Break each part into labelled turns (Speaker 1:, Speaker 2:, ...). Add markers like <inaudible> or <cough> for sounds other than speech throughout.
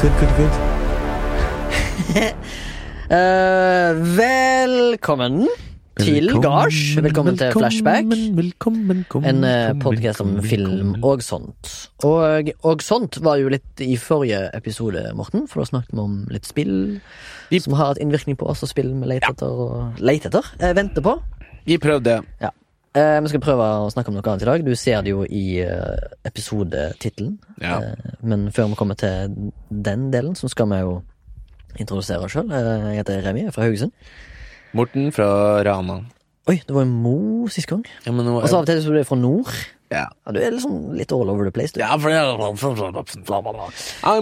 Speaker 1: Good, good.
Speaker 2: Eh, velkommen til Gards. Velkommen til Flashback.
Speaker 1: Velkommen, velkommen, velkommen,
Speaker 2: En eh, podcast om
Speaker 1: velkommen,
Speaker 2: film
Speaker 1: velkommen.
Speaker 2: og sånt. Og, og sånt var jo litt i forrige episode, Morten, for da snakket vi om litt spill
Speaker 3: Jip.
Speaker 2: som har hatt innvirkning på oss, og spill vi leter etter og leter etter. eh, venter på.
Speaker 3: Vi prøvde.
Speaker 2: Eh, vi skal prøve å snakke om noe annet i dag. Du ser det jo i uh, episodetittelen.
Speaker 3: Ja.
Speaker 2: Eh, Men før vi kommer til den delen, så skal vi jo introdusere oss sjøl. Jeg heter Remi, jeg er fra Haugesund.
Speaker 3: Morten fra Rana.
Speaker 2: Oi, det var jo Mo sist gang.
Speaker 3: Ja, men nå
Speaker 2: Og så av og til så blir du fra nord.
Speaker 3: ja.
Speaker 2: Ja, Du er liksom litt all over the place, du.
Speaker 3: Ja, for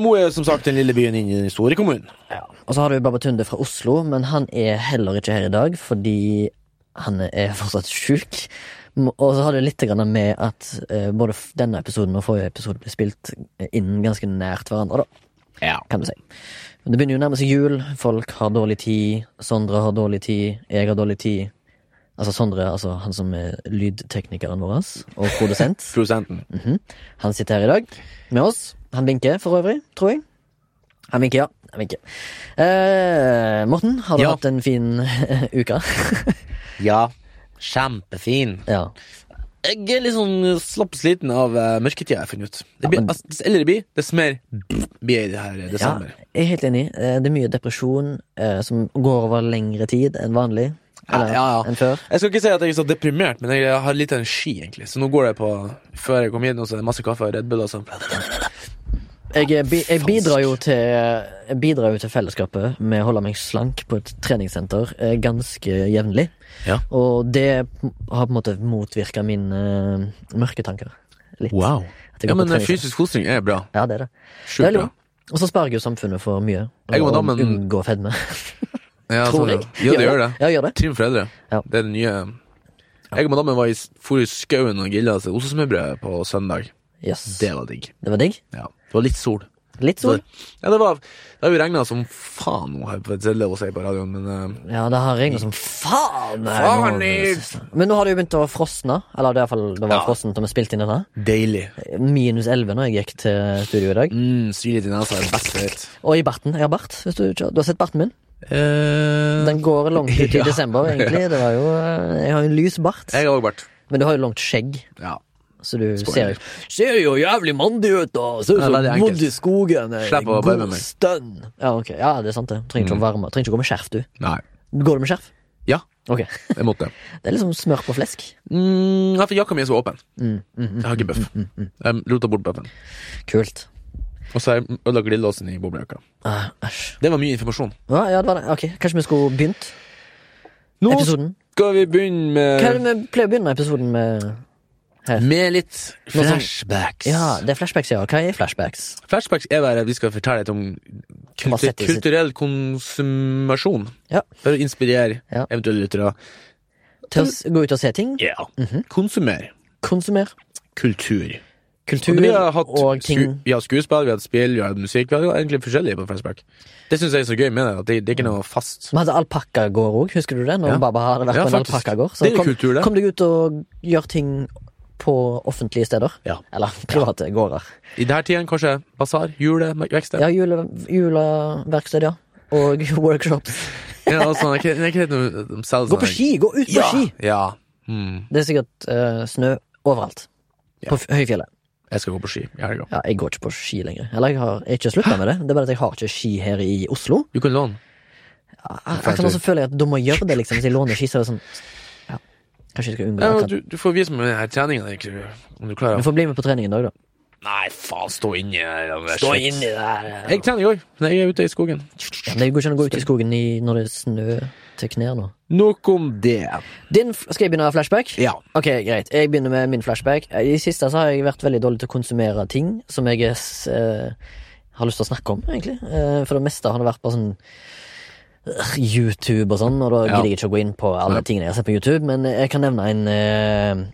Speaker 3: Mo er som sagt den lille byen inni den store kommunen.
Speaker 2: Og så har du Babatunde fra Oslo, men han er heller ikke her i dag fordi han er fortsatt sjuk. M- Og så har det litt grann med at eh, både f- denne episoden og forrige episode ble spilt eh, inn ganske nært hverandre, da,
Speaker 3: Ja.
Speaker 2: kan du si. Men det begynner jo å nærme seg jul, folk har dårlig tid, Sondre har dårlig tid, jeg har dårlig tid. Altså Sondre, altså han som er lydteknikeren vår og produsent,
Speaker 3: Produsenten.
Speaker 2: han sitter her i dag med oss. Han vinker for øvrig, tror jeg. Han vinker, ja. Han vinker. Eh, Morten, har du
Speaker 3: Ja.
Speaker 2: hatt en fin eh,
Speaker 3: <laughs>
Speaker 2: uke?
Speaker 3: Ja. Kjempefin.
Speaker 2: ja.
Speaker 3: Jeg er litt sånn slappsliten av eh, mørketida, jeg har funnet ut. Det blir,
Speaker 2: men-
Speaker 3: altså, dess eldre det blir, dess mer blir jeg i det her eh,
Speaker 2: ja.
Speaker 3: desember.
Speaker 2: Jeg er helt enig. Eh, Det er mye depresjon eh, som går over lengre tid enn vanlig.
Speaker 3: Ja,
Speaker 2: Eller
Speaker 3: ja, ja.
Speaker 2: enn før.
Speaker 3: Jeg skal ikke si at jeg er så deprimert, men jeg har litt energi, egentlig. Så nå går det på Før jeg kom inn, og så er det masse kaffe og Red Bull og sånn.
Speaker 2: Jeg, eh, bi- jeg, bidrar jo til, jeg bidrar jo til fellesskapet med å holde meg slank på et treningssenter eh, ganske jevnlig.
Speaker 3: Ja.
Speaker 2: Og det har på en måte motvirka mine eh, mørketanker litt. At jeg
Speaker 3: Ja,
Speaker 2: går på
Speaker 3: men eh,
Speaker 2: treningssenter.
Speaker 3: fysisk fostring er bra.
Speaker 2: Ja, det er det. Det
Speaker 3: Sjukt
Speaker 2: er
Speaker 3: bra.
Speaker 2: litt- Og så sparer jo samfunnet for mye.
Speaker 3: Jeg og
Speaker 2: og
Speaker 3: damen-
Speaker 2: unngår fedme.
Speaker 3: Ja,
Speaker 2: Tror
Speaker 3: sånn,
Speaker 2: jeg.
Speaker 3: Ja, det gjør det.
Speaker 2: Ja, gjør det.
Speaker 3: Trim foreldre.
Speaker 2: Ja.
Speaker 3: Det er det nye. Jeg og madammen var i, for i skauen og grilla seg ostesmørbrød på søndag.
Speaker 2: Yes.
Speaker 3: Det
Speaker 2: Det.
Speaker 3: var digg.
Speaker 2: var digg.
Speaker 3: Ja. Det var litt sol.
Speaker 2: Litt sol.
Speaker 3: Ja, det var Det har jo regna som faen nå her, for det er lov å si på radioen, men eh,
Speaker 2: Ja, det har regnet som faen! eh, her
Speaker 3: Faen,
Speaker 2: nå.
Speaker 3: Liv!
Speaker 2: Men nå har det jo begynt å frosne. Eller det, er i hvert fall, det var
Speaker 3: Ja.
Speaker 2: frossent da vi spilte inn denne.
Speaker 3: deilig.
Speaker 2: Minus 11 når jeg gikk til studio i dag.
Speaker 3: Mm, Syrlig til nesa er best jeg vet.
Speaker 2: Og i barten. Jeg har bart. Hvis du, ikke har- du har sett barten min?
Speaker 3: Eh,
Speaker 2: Den går langt ut
Speaker 3: <laughs>
Speaker 2: i
Speaker 3: Ja.
Speaker 2: desember, egentlig. Det var jo, eh, jeg har jo en lys bart.
Speaker 3: Jeg har òg bart.
Speaker 2: Men du har jo langt skjegg.
Speaker 3: Ja.
Speaker 2: Så du
Speaker 3: Spoiler.
Speaker 2: ser, ser jo jævlig mandig ut, da. Ser ut
Speaker 3: Ja,
Speaker 2: som
Speaker 3: veldig enkelt.
Speaker 2: bodd i skogen. eh,
Speaker 3: Slapp å
Speaker 2: god
Speaker 3: bøye med meg.
Speaker 2: Stønn. Mm. Ja, ok. ja, det er sant, det. Trenger ikke å varme. Trenger ikke å gå med skjerf, du.
Speaker 3: Nei.
Speaker 2: Går du med skjerf?
Speaker 3: Ja,
Speaker 2: Ok.
Speaker 3: jeg måtte.
Speaker 2: Det er liksom smør på flesk.
Speaker 3: Mm, ja, for jakka mi er så åpen.
Speaker 2: Mm,
Speaker 3: Jeg har ikke bøff. Jeg rota bort bøffen.
Speaker 2: Kult.
Speaker 3: Og så har jeg ødela glidelåsen i boblejakka.
Speaker 2: Ah, Æsj.
Speaker 3: Det var mye informasjon.
Speaker 2: Ja, ja, det var det. Ok, Kanskje vi skulle begynt
Speaker 3: Nå
Speaker 2: episoden?
Speaker 3: skal vi begynne med
Speaker 2: Hva er det vi pleier å begynne episoden med?
Speaker 3: Med litt
Speaker 2: Noe sånn-
Speaker 3: flashbacks.
Speaker 2: Ja, det er flashbacks, ja. Hva er flashbacks?
Speaker 3: Flashbacks er bare at vi skal fortelle litt om
Speaker 2: Hva
Speaker 3: kultur,
Speaker 2: setter sitt-
Speaker 3: kulturell konsumasjon.
Speaker 2: Ja.
Speaker 3: For å inspirere
Speaker 2: Ja.
Speaker 3: eventuelle lyttere.
Speaker 2: Til å s- gå ut og se ting?
Speaker 3: Ja.
Speaker 2: Mhm.
Speaker 3: Konsumere
Speaker 2: Konsumer?
Speaker 3: kultur.
Speaker 2: Kultur
Speaker 3: Og vi har hatt
Speaker 2: og ting?
Speaker 3: sku- vi har skuespill, vi har hatt spill, vi har hatt musikk. Vi har egentlig forskjellige på flashback. Det syns jeg er så gøy med det. At det, det er ikke noe fast.
Speaker 2: Vi hadde alpakkagård òg, husker du det? Når
Speaker 3: Ja.
Speaker 2: Baba hadde vært
Speaker 3: Ja,
Speaker 2: på en
Speaker 3: faktisk.
Speaker 2: alpakkagård.
Speaker 3: Det er jo kultur, det.
Speaker 2: kom deg ut og gjør ting på offentlige steder.
Speaker 3: Ja.
Speaker 2: Eller private gårder.
Speaker 3: I denne tiden kanskje basar, julevekster.
Speaker 2: Ja, jule, juleverksted, ja. Og <laughs> workshops.
Speaker 3: Ja, og sånn, jeg, jeg, jeg, de selger
Speaker 2: Gå på
Speaker 3: sånne-
Speaker 2: ski! Gå ut på
Speaker 3: Ja!
Speaker 2: ski!
Speaker 3: ja. Mm.
Speaker 2: Det er sikkert eh, snø overalt.
Speaker 3: Ja.
Speaker 2: På f- høyfjellet.
Speaker 3: Jeg skal gå på ski i helga.
Speaker 2: Ja, jeg går ikke på ski lenger. Eller jeg har jeg har ikke slutta med det. Det er bare at jeg har ikke ski her i Oslo.
Speaker 3: Du kan låne.
Speaker 2: Jeg kan også føle at da må jeg gjøre det, liksom. Hvis jeg låner ski, så er det sånn ja. Kanskje jeg skal unngå det.
Speaker 3: Ja,
Speaker 2: akkurat.
Speaker 3: du, du får vise meg denne treninga om du klarer
Speaker 2: Du får bli med på trening i dag, da.
Speaker 3: Nei, faen, stå inni der.
Speaker 2: inni der.
Speaker 3: Jeg trener i år, men jeg er ute i skogen.
Speaker 2: Ja, men det går ikke an å gå ut i skogen i, når det er snø til knær nå.
Speaker 3: Nok om det.
Speaker 2: Din, f- skal jeg begynne med flashback?
Speaker 3: Ja.
Speaker 2: Ok, greit. Jeg begynner med min flashback. I det siste så har jeg vært veldig dårlig til å konsumere ting som jeg eh, har lyst til å snakke om, egentlig. Eh, for det meste har det vært på sånn øh, YouTube og sånn, og da
Speaker 3: Ja.
Speaker 2: gidder jeg ikke å gå inn på alle
Speaker 3: Nei.
Speaker 2: tingene jeg har sett på YouTube, men jeg kan nevne en eh,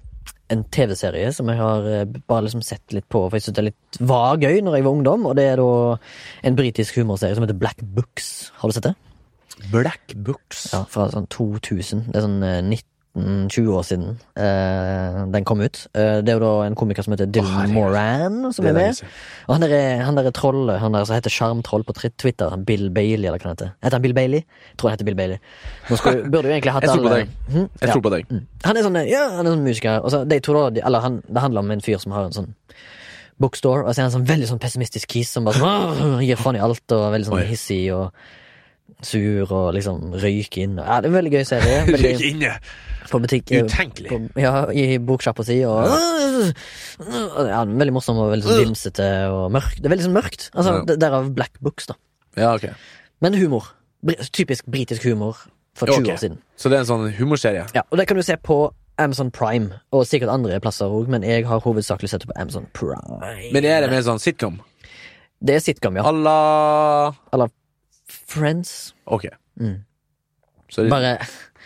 Speaker 2: en TV-serie som jeg har eh, bare liksom sett litt på, for jeg synes det er litt var gøy når jeg var ungdom, og det er da en britisk humorserie som heter Black Books. Har du sett det?
Speaker 3: Black Books.
Speaker 2: Ja, fra sånn 2000. Det er sånn eh, 15-20 år siden eh, den kom ut. Eh, det er jo da en komiker som heter Dylan
Speaker 3: herregud.
Speaker 2: Moran, som
Speaker 3: Det
Speaker 2: er
Speaker 3: er
Speaker 2: med.
Speaker 3: lenge siden.
Speaker 2: Og han der, er- han der er trollet, han der som heter Sjarmtroll på tri- Twitter, han Bill Bailey, eller hva han heter. Heter han Bill Bailey? Jeg tror han heter Bill Bailey. Nå skulle, burde jo egentlig hatt
Speaker 3: Jeg tror på
Speaker 2: alle-
Speaker 3: deg.
Speaker 2: Hm?
Speaker 3: Jeg tror på deg.
Speaker 2: Mm. Han er sånn, ja, han er sånn musiker. Og så de to da, de, eller han, det handler om en fyr som har en sånn bookstore, og så er han sånn veldig sånn pessimistisk kis som bare sånn, «Åh», gir faen i alt, og veldig sånn
Speaker 3: Oi.
Speaker 2: hissig og sur, og liksom røyker inn. og- Ja, det er en veldig
Speaker 3: <laughs>
Speaker 2: gøy serie.
Speaker 3: Du er
Speaker 2: Veldig,
Speaker 3: ikke inne.
Speaker 2: på butikk.
Speaker 3: Utenkelig.
Speaker 2: På, ja, i boksjappa si, og ja, den er Veldig morsom og veldig sånn vimsete og mørk. Det er veldig sånn mørkt. Altså,
Speaker 3: Ja.
Speaker 2: det- Derav Black Books, da.
Speaker 3: Ja, ok.
Speaker 2: Men humor. Bri- Typisk britisk humor for
Speaker 3: Ja,
Speaker 2: 20
Speaker 3: ok.
Speaker 2: år siden.
Speaker 3: Så det er en sånn humorserie?
Speaker 2: Ja, og det kan du se på Amazon Prime, og sikkert andre plasser òg, men jeg har hovedsakelig sett det på Amazon Prime.
Speaker 3: Men er det mer sånn sitcom?
Speaker 2: Det er sitcom, ja.
Speaker 3: Allah
Speaker 2: Friends.
Speaker 3: Ok.
Speaker 2: Mm.
Speaker 3: Så det,
Speaker 2: Bare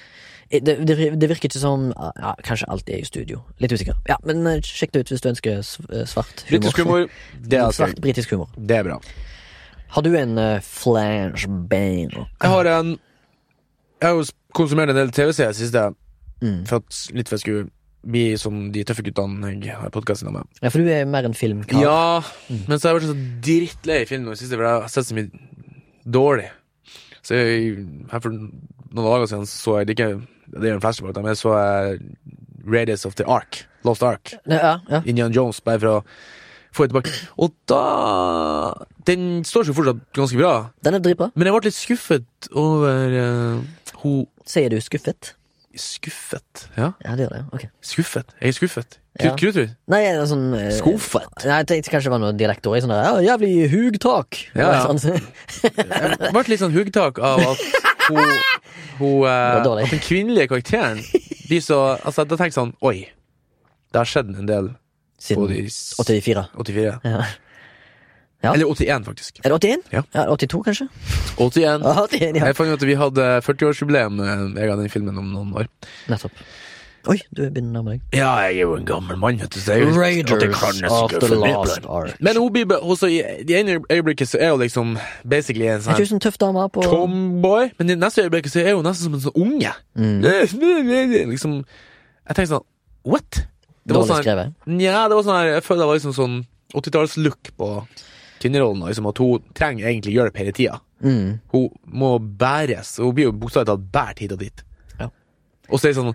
Speaker 2: <laughs> det, det, det virker ikke som ja, Kanskje alt er i studio. Litt usikker. Ja, Men eh, sjekk det ut hvis du ønsker s- eh, svart humor.
Speaker 3: britisk humor, det er, altså,
Speaker 2: Svart britisk humor.
Speaker 3: det er bra.
Speaker 2: Har du en uh, flashbang?
Speaker 3: Jeg har en Jeg har jo s- konsumert en del TV-serier siste,
Speaker 2: Mm.
Speaker 3: for at, litt for at jeg skulle bli som de tøffe guttene jeg har podkasten med.
Speaker 2: Ja, for du er mer en filmkar.
Speaker 3: Ja, men så har jeg vært så drittlei film nå i det siste, for jeg har sett så mye dårlig. Så jeg, her for noen dager siden så jeg det er ikke Det er en flashback, da, men jeg så jeg Radius of the Ark. Lost Ark.
Speaker 2: Ne- ja, ja.
Speaker 3: Indian Jones, bare for å få det tilbake. Og da Den står seg fortsatt ganske bra,
Speaker 2: Den er dritbra.
Speaker 3: men jeg ble litt skuffet over eh, hun
Speaker 2: Sier du skuffet?
Speaker 3: Skuffet? Ja,
Speaker 2: Ja, det gjør det. ok
Speaker 3: skuffet. Jeg er skuffet.
Speaker 2: Ja.
Speaker 3: Krut, krut,
Speaker 2: Nei, jeg er sånn eh,
Speaker 3: Skuffet?
Speaker 2: Nei, jeg tenkte kanskje det var noe dialektord i sånn der ja, Jævlig hugtak!
Speaker 3: Ja, ja.
Speaker 2: Sånn.
Speaker 3: Jeg ble litt sånn huggtak av at hun, hun eh,
Speaker 2: Det var dårlig.
Speaker 3: At den kvinnelige karakteren blir så Altså, da tenker jeg sånn Oi, det har skjedd en del på
Speaker 2: Siden
Speaker 3: de s-
Speaker 2: 84.
Speaker 3: 84.
Speaker 2: Ja. Ja.
Speaker 3: Eller 81, faktisk.
Speaker 2: Er det 81?
Speaker 3: Ja.
Speaker 2: 82, kanskje?
Speaker 3: 81.
Speaker 2: Ja, 81, ja.
Speaker 3: Jeg fant ut at vi hadde 40-årsjubileum eh, jeg av den filmen om noen år.
Speaker 2: Nettopp. Oi, du begynner å nærme deg.
Speaker 3: Ja, jeg er jo en gammel mann, vet du. Så jeg, vet at jeg kan nesten ikke fornye det.
Speaker 2: Ark.
Speaker 3: Men hun blir be- hun, så i det ene øyeblikket så er hun liksom basically en
Speaker 2: Er
Speaker 3: sånn
Speaker 2: ikke du sånn tøff dame på
Speaker 3: tomboy, men i neste øyeblikket så er hun nesten som en sånn unge.
Speaker 2: Mm.
Speaker 3: Liksom Jeg tenker sånn What? Det var
Speaker 2: Dårlig
Speaker 3: sånn,
Speaker 2: skrevet?
Speaker 3: Nja, det var sånn her Jeg føler det var liksom sånn 80-tallslook på kvinnerollen. og Liksom, at hun trenger egentlig hjelp hele tida.
Speaker 2: Mm.
Speaker 3: Hun må bæres. og Hun blir jo bokstavelig talt båret hit og dit.
Speaker 2: Ja.
Speaker 3: Og så er det sånn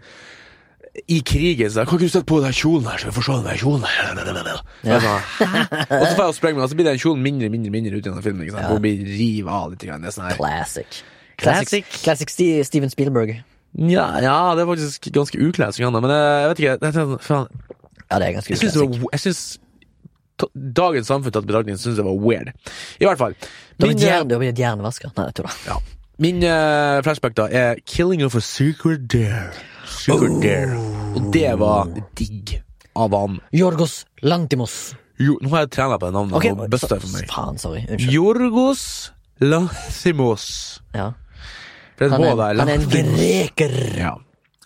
Speaker 3: I krigen så er det, Kan ikke du sette på den kjolen her, så vi får se den der kjolen her? <laughs> Ja. og så får jeg jo sprenge meg, og så blir den kjolen mindre mindre, mindre ute gjennom filmen. Ikke sant?
Speaker 2: Ja.
Speaker 3: Hun blir rivet av litt. Grann. Det er sånn her
Speaker 2: Classic.
Speaker 3: Classic.
Speaker 2: Classic Sti- Steven Spielberg.
Speaker 3: ja, ja, det er faktisk ganske uklart, men eh, jeg, jeg vet ikke Jeg, tenker sånn, faen,
Speaker 2: Ja, det er ganske
Speaker 3: jeg syns det var Jeg synes, to- Dagens samfunn tatt i betraktning syns jeg var weird. I hvert fall.
Speaker 2: Du har blitt
Speaker 3: eh,
Speaker 2: hjerne- du har blitt hjernevasker. Nei, jeg tuller.
Speaker 3: Ja. Min eh, flashback da er 'Killing of a Secret Dare'. Secret
Speaker 2: Oh.
Speaker 3: Dare. Og det var digg av han.
Speaker 2: Jorgos Lantimos.
Speaker 3: Jo, nå har jeg trena på det navnet.
Speaker 2: Ok,
Speaker 3: og busta for meg.
Speaker 2: Faen, sorry. Unnskyld.
Speaker 3: Jorgos Lanthimos.
Speaker 2: Ja.
Speaker 3: For det
Speaker 2: Han,
Speaker 3: må
Speaker 2: er,
Speaker 3: være
Speaker 2: han er en
Speaker 3: Lanthimos.
Speaker 2: greker.
Speaker 3: Ja.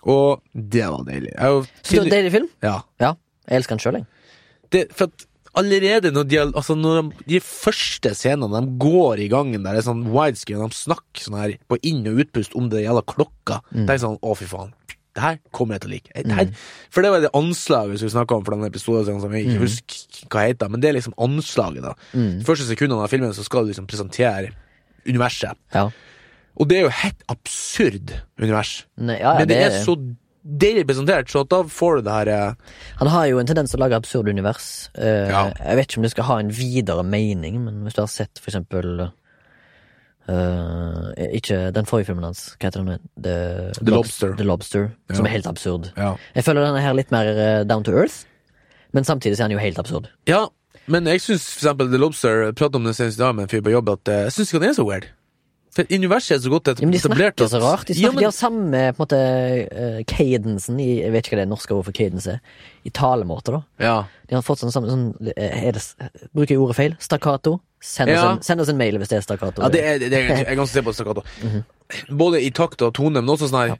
Speaker 3: Og det var deilig. Jeg, er jo
Speaker 2: Så det var en
Speaker 3: tidlig-
Speaker 2: deilig film.
Speaker 3: ja.
Speaker 2: Ja, jeg elsker den sjøl, jeg.
Speaker 3: det, for at allerede når de, altså når de, de første scenene de går i gangen der, det er sånn widescreen, de snakker sånn her på inn- og utpust om det gjelder klokka,
Speaker 2: Mm.
Speaker 3: det er sånn, å fy faen, det her kommer jeg til å like. Det her, For det var det anslaget som vi snakket om for denne episoden, sånn som jeg
Speaker 2: Mm.
Speaker 3: ikke husker hva heter, men det er liksom anslaget da. De første sekundene av filmen så skal du liksom presentere universet.
Speaker 2: Ja.
Speaker 3: Og det er jo helt absurd univers.
Speaker 2: Nei, ja, ja,
Speaker 3: men det,
Speaker 2: det
Speaker 3: er
Speaker 2: er-
Speaker 3: så deilig presentert, så at da får du det her... eh,
Speaker 2: Han har jo en tendens til å lage absurde univers. Eh,
Speaker 3: Ja.
Speaker 2: Jeg vet ikke om det skal ha en videre mening, men hvis du har sett for eksempel eh, Ikke den forrige filmen hans, hva heter den? igjen? The,
Speaker 3: The Lobster.
Speaker 2: The Lobster Som er helt absurd.
Speaker 3: Ja.
Speaker 2: Jeg føler denne her litt mer eh, down to earth, men samtidig så er den jo helt absurd.
Speaker 3: Ja, men jeg syns for eksempel The Lobster prater om det senest i dag med en fyr på jobb, at eh, jeg syns ikke han er så weird. For universet er så godt
Speaker 2: Ja, men de
Speaker 3: etablert.
Speaker 2: snakker
Speaker 3: at-
Speaker 2: så rart. De, snakker,
Speaker 3: ja, men,
Speaker 2: de har samme på en måte eh, cadensen i Jeg vet ikke hva det norske ordet for cadence er. I talemåte, da.
Speaker 3: ja.
Speaker 2: De har fått sånn, samme- sånn eh, er det, s- Bruker jeg ordet feil? Stakkato? Send, oss
Speaker 3: Ja.
Speaker 2: en- send oss en mail hvis det er stakkato.
Speaker 3: ja, det er, det er, jeg er ganske sikker på at det er staccato.
Speaker 2: Mhm.
Speaker 3: Både i takt og tone, men også sånn her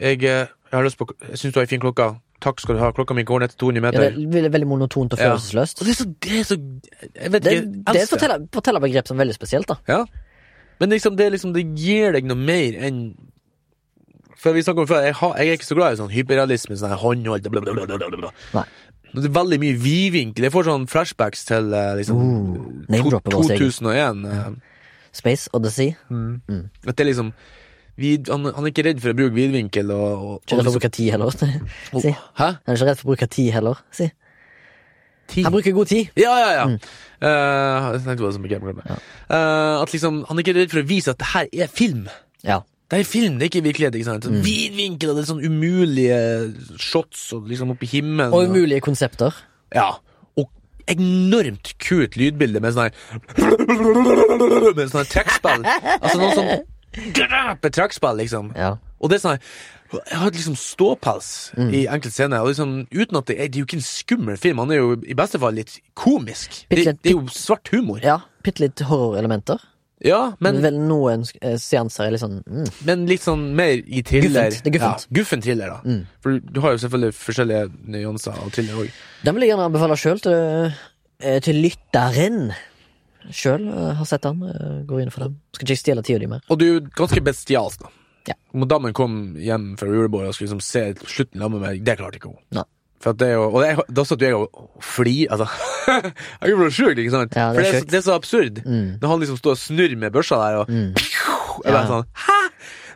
Speaker 3: jeg, eh, jeg har lyst på Jeg syns du har ei en fin klokke. Takk skal du ha. Klokka mi går ned til 200 meter.
Speaker 2: Ja, det er veldig monotont og
Speaker 3: Ja.
Speaker 2: følelsesløst.
Speaker 3: Og det er så, det er så Jeg vet
Speaker 2: Det,
Speaker 3: ikke. jeg
Speaker 2: det
Speaker 3: elsker
Speaker 2: er et
Speaker 3: det.
Speaker 2: forteller, fortellerbegrep som er veldig spesielt, da.
Speaker 3: Ja. Men liksom, det, er liksom, det gir deg noe mer enn For vi snakket om før, jeg, har, jeg er ikke så glad i sånn hyperrealisme, sånn her håndholdt bla, bla, bla, bla, bla, bla.
Speaker 2: Nei.
Speaker 3: Men Det er veldig mye vidvinkel. Jeg får sånn flashbacks til eh, liksom, to-
Speaker 2: Uh, Name-dropper vår egen.
Speaker 3: 2001. eh,
Speaker 2: Space Odyssey.
Speaker 3: At det er liksom vid, han, han er ikke redd for å bruke vidvinkel og, og,
Speaker 2: Ikke
Speaker 3: og
Speaker 2: redd for å
Speaker 3: liksom,
Speaker 2: bruke tid heller. <laughs> si.
Speaker 3: Hæ?
Speaker 2: Han er ikke redd for å bruke tid heller. Si.
Speaker 3: Ti?
Speaker 2: Han bruker god tid.
Speaker 3: Ja, ja, ja.
Speaker 2: Mm.
Speaker 3: Eh, jeg tenkte på det som begrep, glemmer det. Eh, at liksom, han er ikke redd for å vise at det her er film.
Speaker 2: Ja.
Speaker 3: Det er film, det er ikke virkelighet. ikke
Speaker 2: Mm.
Speaker 3: sant? Sånn Vidvinkel og det er sånn umulige shots og liksom oppe i himmelen.
Speaker 2: Og umulige konsepter.
Speaker 3: Ja. Og enormt kult lydbilde med sånn her <laughs> Med sånn her trekkspill. Altså noen sånn dræpe trekkspill, liksom.
Speaker 2: Ja.
Speaker 3: Og det er sånn her jeg har liksom ståpels
Speaker 2: Mm.
Speaker 3: i enkelte scener. Og liksom, uten at det, er, det er jo ikke en skummel film, han er jo i beste fall litt komisk. Det,
Speaker 2: Bitte-
Speaker 3: det er jo svart humor.
Speaker 2: ja. Mm. Bitte litt horrorelementer.
Speaker 3: Ja,
Speaker 2: Men
Speaker 3: men,
Speaker 2: vel noen eh, seanser er litt sånn mm.
Speaker 3: men litt sånn mer i thriller.
Speaker 2: Guffent, det er guffent. Mm.
Speaker 3: Ja, guffen thriller, da. For du har jo selvfølgelig forskjellige nyanser av thriller òg.
Speaker 2: Den vil jeg gjerne anbefale sjøl til, eh, til lytteren. Sjøl har sett den. eh, Går inn for den. Skal ikke stjele tida di mer.
Speaker 3: Og det er jo ganske bestialsk, da.
Speaker 2: Ja.
Speaker 3: Når damen kom hjem fra julebord og skulle liksom se slutten sammen med meg, det klarte ikke hun.
Speaker 2: Nei.
Speaker 3: For at det er jo, og jeg, da satt jo jeg og flir, altså. <laughs> jeg ble sjuk, ikke sant?
Speaker 2: Ja,
Speaker 3: For
Speaker 2: det er
Speaker 3: det er,
Speaker 2: sjukt.
Speaker 3: så-
Speaker 2: Mm.
Speaker 3: det er så absurd. Når han liksom står og snurrer med børsa der, og <laughs> jeg bare
Speaker 2: Ja.
Speaker 3: sånn, hæ?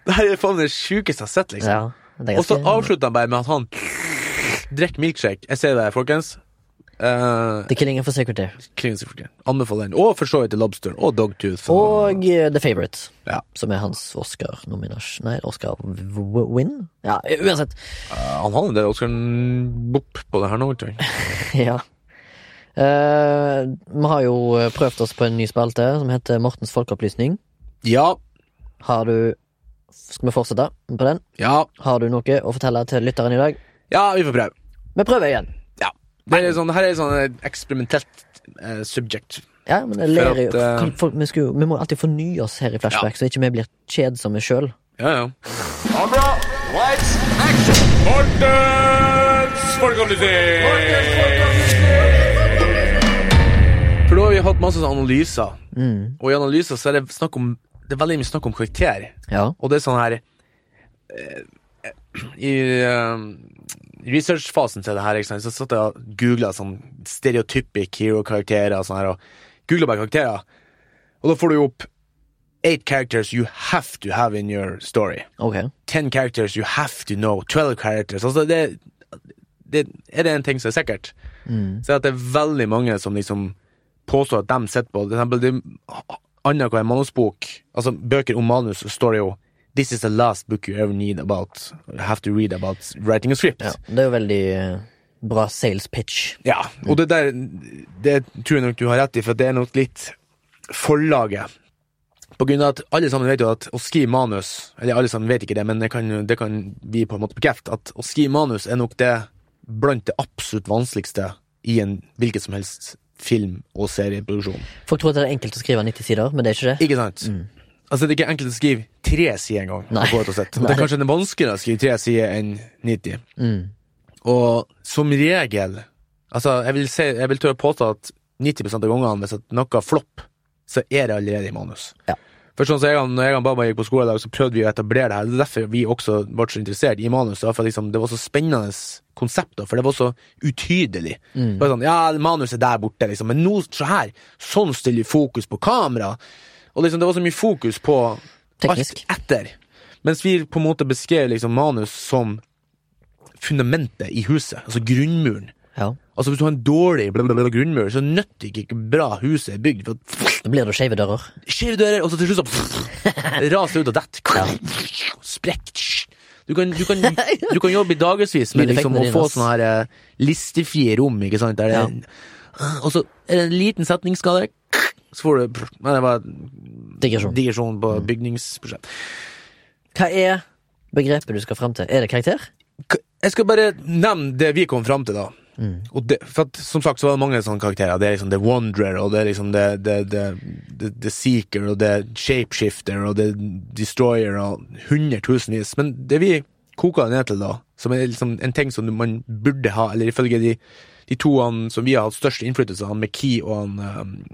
Speaker 3: Det her er faen det sjukeste jeg har sett, liksom.
Speaker 2: Ja, det er
Speaker 3: Og så
Speaker 2: ganske-
Speaker 3: avslutter han bare med at han drikker milkshake. Jeg ser det, folkens. Uh,
Speaker 2: The Killing of a Sacred Deer.
Speaker 3: Anbefaler den. Og for så vidt The Lobster og Dogtooth.
Speaker 2: Og eh, The Favourite.
Speaker 3: Ja.
Speaker 2: Som er hans Oscar-nominasjon Nei, Oscar-win? Ja, uansett.
Speaker 3: Han har en del Oscar-bopp på det her nå, tror jeg.
Speaker 2: <laughs> ja. Eh, vi har jo prøvd oss på en ny spalte som heter Mortens folkeopplysning.
Speaker 3: Ja.
Speaker 2: Har du Skal vi fortsette på den?
Speaker 3: Ja.
Speaker 2: Har du noe å fortelle til lytteren i dag?
Speaker 3: Ja, vi får prøve.
Speaker 2: Vi prøver igjen.
Speaker 3: Ja. Det er sånn, her er sånn eh, eksperimentelt eh, subject.
Speaker 2: Ja, men jeg ler
Speaker 3: For
Speaker 2: jo.
Speaker 3: at, eh,
Speaker 2: Kan folk- vi, skulle jo- vi må alltid fornye oss her i Flashback, så ikke vi blir kjedsomme sjøl.
Speaker 3: Ja, ja.
Speaker 1: Kamera, lights, action! Mortens
Speaker 3: For da har vi hatt masse sånne analyser, og i analyser så er det snakk om Det er veldig mye snakk om karakter,
Speaker 2: Ja.
Speaker 3: og det er sånn her eh, I eh, researchfasen til det her, ikke sant, så satt jeg og googla sånn stereotypic hero-karakterer og sånn her, og googla bare karakterer, og da får du jo opp eight characters you have to have in your story.
Speaker 2: Ok.
Speaker 3: 10 characters you have to know, 12 characters altså det, det, Er det en ting som er sikkert, så er det at det er veldig mange som liksom påstår at de sitter på For eksempel, det er annenhver manusbok, altså bøker om manus, så står det jo This is the last book you ever need about have to read about writing a script.
Speaker 2: Ja, det er jo veldig eh, bra sales pitch.
Speaker 3: Ja, og det der Det tror jeg nok du har rett i, for det er nok litt forlaget. På grunn av at alle sammen vet jo at å skrive manus Eller alle sammen vet ikke det, men det kan, det kan vi på en måte bekrefte. At å skrive manus er nok det blant det absolutt vanskeligste i en hvilken som helst film- og serieproduksjon.
Speaker 2: Folk tror at det er enkelt å skrive 90 sider, men det er ikke det.
Speaker 3: Ikke sant? Altså Det er ikke enkelt å skrive tre sider engang.
Speaker 2: Mm. <laughs> Nei.
Speaker 3: Det er kanskje det er vanskeligere å skrive tre sider enn 90.
Speaker 2: Mm.
Speaker 3: Og som regel Altså Jeg vil, si, jeg vil tørre å påstå at 90 av gangene, hvis at noe flopp, så er det allerede i manus.
Speaker 2: Ja.
Speaker 3: For sånn som jeg, og- når jeg og Baba gikk på skole i dag, så prøvde vi å etablere det her. Det er derfor vi også ble så interessert i manus. da, For liksom, det var så spennende konsept, da, for det var så utydelig. Bare sånn, ja, manus er der borte, liksom, men nå, se her! Sånn stiller vi fokus på kamera! Og liksom, det var så mye fokus på
Speaker 2: Teknisk.
Speaker 3: alt etter. Mens vi på en måte beskrev liksom manus som fundamentet i huset, altså grunnmuren.
Speaker 2: Ja.
Speaker 3: Altså Hvis du har en dårlig bla, bla, bla, grunnmur, så nytter ikke hvor bra huset er bygd. For at-
Speaker 2: Da blir det skeive dører.
Speaker 3: Skjeve dører, og så til slutt så <laughs> raser det ut og detter. Sprekk. Du kan, du, kan, du kan jobbe i dagevis med liksom, å
Speaker 2: Lydeffektene dine,
Speaker 3: få
Speaker 2: ass.
Speaker 3: sånne her eh, listefrie rom, ikke sant. Der det, Og så er det en liten setningsskade, så får du Nei, det var
Speaker 2: Digresjon.
Speaker 3: digresjon på bygningsprosjekt.
Speaker 2: Hva er begrepet du skal fram til? Er det karakter?
Speaker 3: K- Jeg skal bare nevne det vi kom fram til, da. Og det, for at, som sagt så var det mange sånne karakterer. Det er liksom The Wanderer, og det er liksom The, the, the, the, the Seeker, og The Shapeshifter, og The Destroyer, og hundretusenvis. Men det vi koka det ned til, da, som er liksom en ting som man burde ha, eller ifølge de, de to han som vi har hatt størst innflytelse av, han McKee og han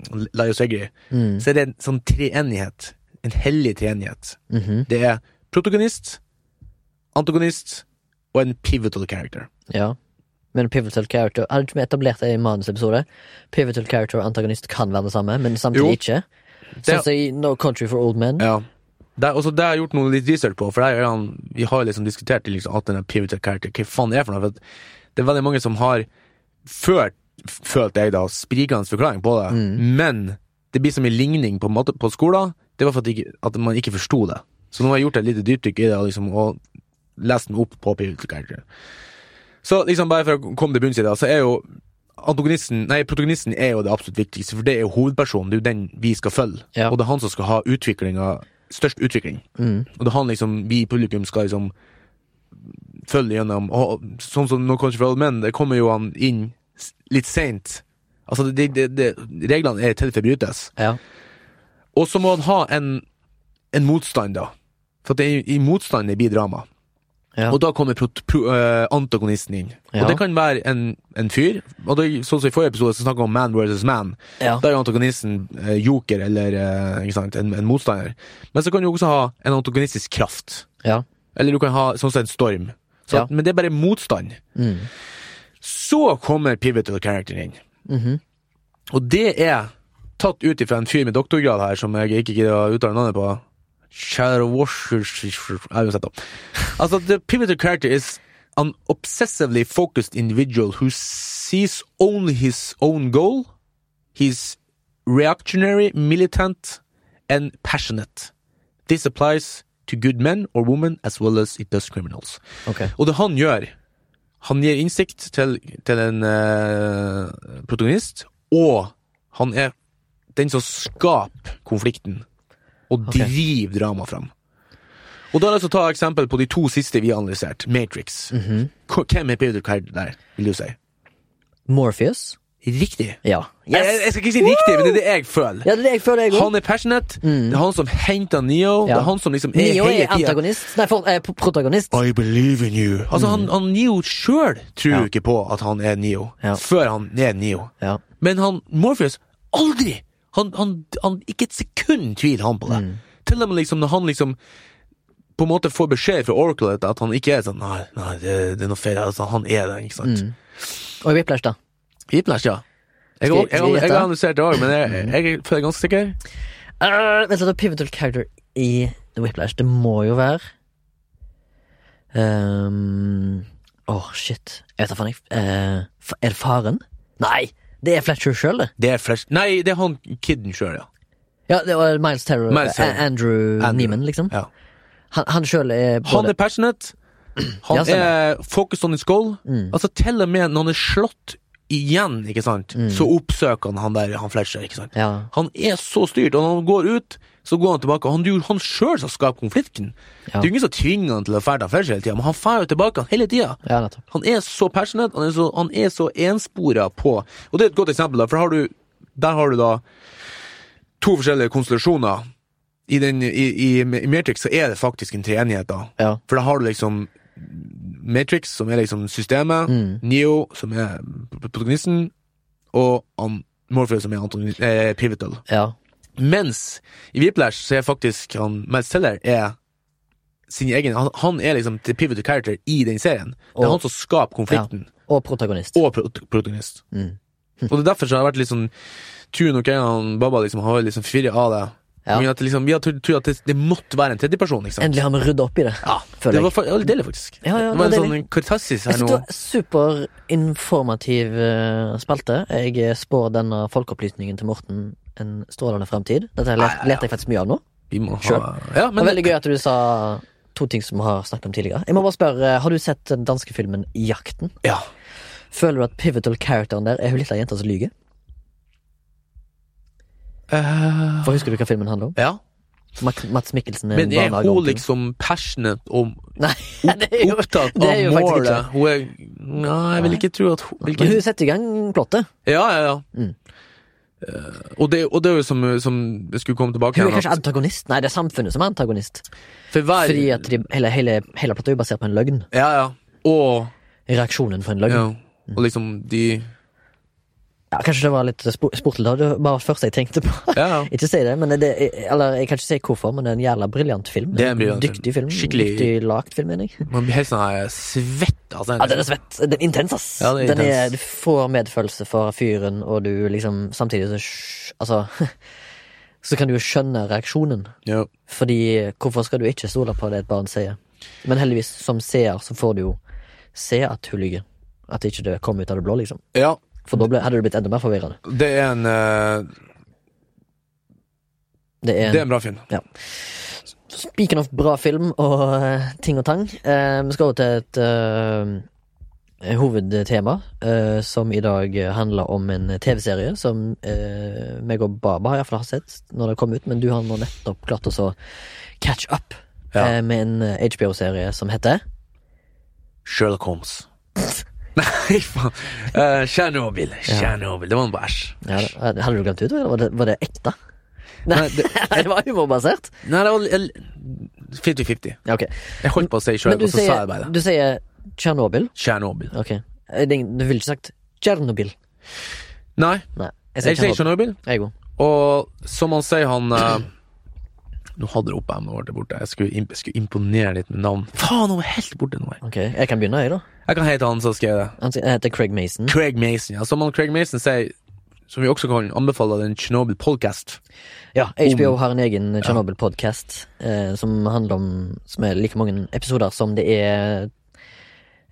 Speaker 3: um, Laios Egri, så er det en sånn treenighet. En hellig treenighet. Det er protagonist, antagonist og en pivotal character.
Speaker 2: Ja. Men pivotal character Hadde ikke vi etablert det i manusepisode? Pivotal character og antagonist kan være det samme, men samtidig
Speaker 3: Jo.
Speaker 2: ikke. Sånn som i No Country for Old Men.
Speaker 3: Ja. Det, er- også det har jeg gjort noe litt research på, for det er jo en, vi har liksom diskutert liksom, at den pivotal character, hva faen det er for noe. For at det er veldig mange som har ført, følt jeg da, sprikende forklaring på det, men det blir så mye ligning på, matte, på skolen, det var for at, ikke, at man ikke forsto det. Så nå har jeg gjort et lite dypdykk i det, og liksom, og lest meg opp på pivotal character. Så liksom bare for å komme til bunns i det, så er jo antagonisten, nei, protagonisten er jo det absolutt viktigste, for det er jo hovedpersonen, det er jo den vi skal følge.
Speaker 2: Ja.
Speaker 3: Og det er han som skal ha utviklinga, størst utvikling. Og det er han liksom, vi i publikum skal liksom følge gjennom, og sånn som No Country for Old Men, det kommer jo han inn s- litt seint. Altså, det, det, det, reglene er til for å brytes.
Speaker 2: Ja.
Speaker 3: Og så må han ha en, en motstand, da. For at det er, i motstand det blir drama.
Speaker 2: Ja.
Speaker 3: Og da kommer pro, pro, eh, antagonisten inn.
Speaker 2: Ja.
Speaker 3: Og det kan være en, en fyr. Og det, sånn som I forrige episode så snakket vi om man versus man.
Speaker 2: Ja.
Speaker 3: Der er antagonisten eh, joker eller eh, ikke sant, en, en motstander. Men så kan du også ha en antagonistisk kraft.
Speaker 2: ja.
Speaker 3: Eller du kan ha sånn som en storm. Så
Speaker 2: Ja.
Speaker 3: at, men det er bare motstand. Så kommer pivotal character inn. Og det er tatt ut ifra en fyr med doktorgrad her, som jeg ikke gidder å uttale navnet på. Shadow Washers Ja, Uansett, da. Altså, the pivotal character is an obsessively focused individual who sees only his own goal. He's reactionary, militant, and passionate. This applies to good men or women as well as it does criminals.
Speaker 2: Ok.
Speaker 3: Og det han gjør, han gir innsikt til, til en eh, protagonist, og han er den som skaper konflikten, og
Speaker 2: Ok.
Speaker 3: driver drama frem. Og da har jeg lyst til å ta eksempel på de to siste vi har analysert, Matrix.
Speaker 2: Mhm.
Speaker 3: Hva- Hvem er Peter Card der, vil du si?
Speaker 2: Morpheus.
Speaker 3: Riktig.
Speaker 2: Ja.
Speaker 3: Jeg, jeg, jeg skal ikke si riktig, men det er det jeg føler.
Speaker 2: Ja, det er det jeg føler, jeg òg.
Speaker 3: Han er passionate, det er han som henter Neo, det er han som liksom er
Speaker 2: Neo
Speaker 3: hele
Speaker 2: er
Speaker 3: tiden.
Speaker 2: antagonist. Nei, for, eh, protagonist.
Speaker 3: I believe in you. Altså,
Speaker 2: Mm.
Speaker 3: han, han Neo sjøl tror jo ikke på at han er Neo,
Speaker 2: Ja.
Speaker 3: før han er Neo.
Speaker 2: Ja.
Speaker 3: Men han Morpheus, aldri! Han, han, han, ikke et sekund tviler han på det.
Speaker 2: Mm.
Speaker 3: Til og med liksom, når han liksom på en måte får beskjed fra Oracle at- at han ikke er sånn Nei, nei det, det er noe feil. Altså, han er det, ikke
Speaker 2: Mm.
Speaker 3: sant?
Speaker 2: Og i Whiplash, da.
Speaker 3: Whiplash, ja. Jeg, jeg,
Speaker 2: Skal-
Speaker 3: jeg,
Speaker 2: skal vi
Speaker 3: jeg
Speaker 2: gjette? Mm.
Speaker 3: har analysert det òg, men jeg, jeg føler jeg er ganske sikker.
Speaker 2: Uh, vent litt, og pivotal character i The Whiplash, det må jo være Ehm, Åh, shit. Jeg vet da faen, jeg eh, fa- Er det faren? Nei! Det er Fletcher sjøl, det.
Speaker 3: Det er Flash Nei, det er han kiden sjøl, ja.
Speaker 2: Ja, det var Miles Terror.
Speaker 3: Miles Teller.
Speaker 2: eh, Andrew,
Speaker 3: Andrew.
Speaker 2: Neiman, liksom.
Speaker 3: ja.
Speaker 2: Han, han sjøl er
Speaker 3: Han
Speaker 2: både
Speaker 3: er
Speaker 2: <clears throat>
Speaker 3: passionate. Han
Speaker 2: Ja, stemmer. Mm.
Speaker 3: er focused on his goal. Altså Til og med når han er slått igjen, ikke sant,
Speaker 2: Mm.
Speaker 3: så oppsøker han han der han Fletcher. ikke sant
Speaker 2: ja.
Speaker 3: Han er så styrt, og når han går ut, så går han tilbake. Han, det er jo han sjøl som skaper konflikten.
Speaker 2: Ja.
Speaker 3: Det er jo ingen som tvinger han til å ferde Fletcher hele tida, men han drar jo tilbake han hele tida.
Speaker 2: ja, nettopp.
Speaker 3: Han er så passionate, han er så, han er så enspora på Og det er et godt eksempel, da, for har du, der har du da to forskjellige konstellasjoner. I, den, i, i, I Matrix så er det faktisk en treenighet, da.
Speaker 2: Ja.
Speaker 3: For da har du liksom Matrix, som er liksom systemet,
Speaker 2: Mm.
Speaker 3: Neo, som er protagonisten, og an Morpheus, som er antagoni- eh, pivotal.
Speaker 2: ja.
Speaker 3: Mens i Whiplash så er faktisk han Miles Teller er sin egen Han, han er liksom the pivotal character i den serien. Det er
Speaker 2: Og-
Speaker 3: han som skaper konflikten,
Speaker 2: Og protagonist. Mm.
Speaker 3: og prot- protagonist. Og det er derfor så har jeg vært litt sånn Tune og Kengan Baba liksom har liksom forvirra av det.
Speaker 2: Ja.
Speaker 3: Men at det liksom, vi har trodd trodd at det, det måtte være en tredjeperson, ikke sant?
Speaker 2: Endelig har vi rydda opp i det,
Speaker 3: Ja, det
Speaker 2: føler jeg.
Speaker 3: var, fa- det var litt deilig, faktisk.
Speaker 2: Ja, ja,
Speaker 3: det var
Speaker 2: det
Speaker 3: en
Speaker 2: var
Speaker 3: sånn katarsis
Speaker 2: Jeg
Speaker 3: her
Speaker 2: synes
Speaker 3: nå.
Speaker 2: det var Altså, Superinformativ eh, spalte. Jeg eh, spår denne folkeopplysningen til Morten en strålende fremtid. Dette her let- leter jeg faktisk mye av nå.
Speaker 3: Vi må ha
Speaker 2: Sure.
Speaker 3: ja,
Speaker 2: Det
Speaker 3: men,
Speaker 2: var veldig gøy at du sa to ting som vi har snakket om tidligere. Jeg må bare spørre, eh, Har du sett den danske filmen Jakten?
Speaker 3: Ja.
Speaker 2: Føler du at pivotal characteren der er hun lille jenta som lyver?
Speaker 3: Eh,
Speaker 2: For husker du hva filmen handler om?
Speaker 3: ja.
Speaker 2: Mak- Mats Mikkelsen er
Speaker 3: Men
Speaker 2: en
Speaker 3: er
Speaker 2: barnehage
Speaker 3: hun
Speaker 2: onkel. <laughs>
Speaker 3: liksom passionate om
Speaker 2: Nei, det er jo
Speaker 3: opptatt
Speaker 2: det er
Speaker 3: av
Speaker 2: jo faktisk ikke
Speaker 3: målet? Hun er Nei, jeg vil ikke tro at hun vil
Speaker 2: Men
Speaker 3: ikke,
Speaker 2: hun setter i gang plottet.
Speaker 3: Ja, ja, ja.
Speaker 2: Mm.
Speaker 3: Eh, og, det, og det er jo som, som jeg skulle komme tilbake
Speaker 2: Hun er
Speaker 3: igjen,
Speaker 2: kanskje
Speaker 3: at
Speaker 2: antagonist? Nei, det er samfunnet som er antagonist.
Speaker 3: For hver
Speaker 2: Fordi at de, hele, hele, hele plottet er jo basert på en løgn.
Speaker 3: Ja, ja. Og
Speaker 2: Mm. Reaksjonen for en løgn.
Speaker 3: Ja, og liksom de
Speaker 2: Ja, kanskje det var litt spo- sportlig, da. Det var bare det første jeg tenkte på. <laughs>
Speaker 3: Ja, ja.
Speaker 2: Ikke si det, men det, eller jeg kan ikke si hvorfor, men det er en jævla briljant film.
Speaker 3: Det er en briljant film.
Speaker 2: Dyktig film.
Speaker 3: Skikkelig-
Speaker 2: Dyktig lagt film, mener jeg.
Speaker 3: Man blir helt sånn her svett. Altså,
Speaker 2: Ja, den er svett. Den er intens, ass.
Speaker 3: Ja, den er
Speaker 2: den er,
Speaker 3: intens.
Speaker 2: du får medfølelse for fyren, og du liksom Samtidig så sj- Altså <laughs> Så kan du jo skjønne reaksjonen.
Speaker 3: Ja.
Speaker 2: Fordi hvorfor skal du ikke stole på det et barn sier? Men heldigvis, som seer, så får du jo se at hun lyver. At ikke det kom ut av det blå, liksom.
Speaker 3: ja,
Speaker 2: For da ble, hadde det blitt enda mer forvirrende.
Speaker 3: det er en eh,
Speaker 2: Det er
Speaker 3: Det er en
Speaker 2: en
Speaker 3: bra film.
Speaker 2: Speaking of bra film og eh, ting og tang, eh, vi skal over til et eh, hovedtema eh, som i dag handler om en TV-serie som uh, meg og Baba har iallfall har sett når det kom ut, men du har nå nettopp klart oss å catch up
Speaker 3: Ja.
Speaker 2: eh, med en HBO-serie som heter
Speaker 3: Sherlock Holmes. <laughs> Nei, faen. Eh, Tsjernobyl. Tsjernobil. Det var en bæsj.
Speaker 2: ja, det- Hadde du glemt ut, eller var det, var det ekte? <laughs> Nei,
Speaker 3: Nei, det,
Speaker 2: det var humorbasert.
Speaker 3: nei, det var el- 50-50.
Speaker 2: Ja, ok.
Speaker 3: Jeg holdt på å si
Speaker 2: Men
Speaker 3: Sherlock,
Speaker 2: du
Speaker 3: og så sa jeg
Speaker 2: sier,
Speaker 3: bare det.
Speaker 2: du sier Tsjernobyl.
Speaker 3: Tsjernobyl.
Speaker 2: Ok. Eh, det er ingen- Du ville ikke sagt Tsjernobyl.
Speaker 3: Nei,
Speaker 2: Nei.
Speaker 3: jeg sier Tsjernobyl.
Speaker 2: Jeg òg.
Speaker 3: Og som han sier, han eh, Nå hadde jeg opp emnet vårt der borte. Jeg skulle, imp jeg skulle imponere litt med navn. Faen, hun er helt borte nå. jeg.
Speaker 2: Ok, jeg kan begynne, jeg, da.
Speaker 3: Jeg kan hete han som skrev det.
Speaker 2: Han sier- jeg heter Craig Mason.
Speaker 3: Craig Mason. Ja, som han Craig Mason sier, som vi også kan anbefale den Tsjernobyl podcast.
Speaker 2: Ja, HBO
Speaker 3: Mm.
Speaker 2: har en egen Chernobyl-podkast eh, som handler om Som er like mange episoder som det er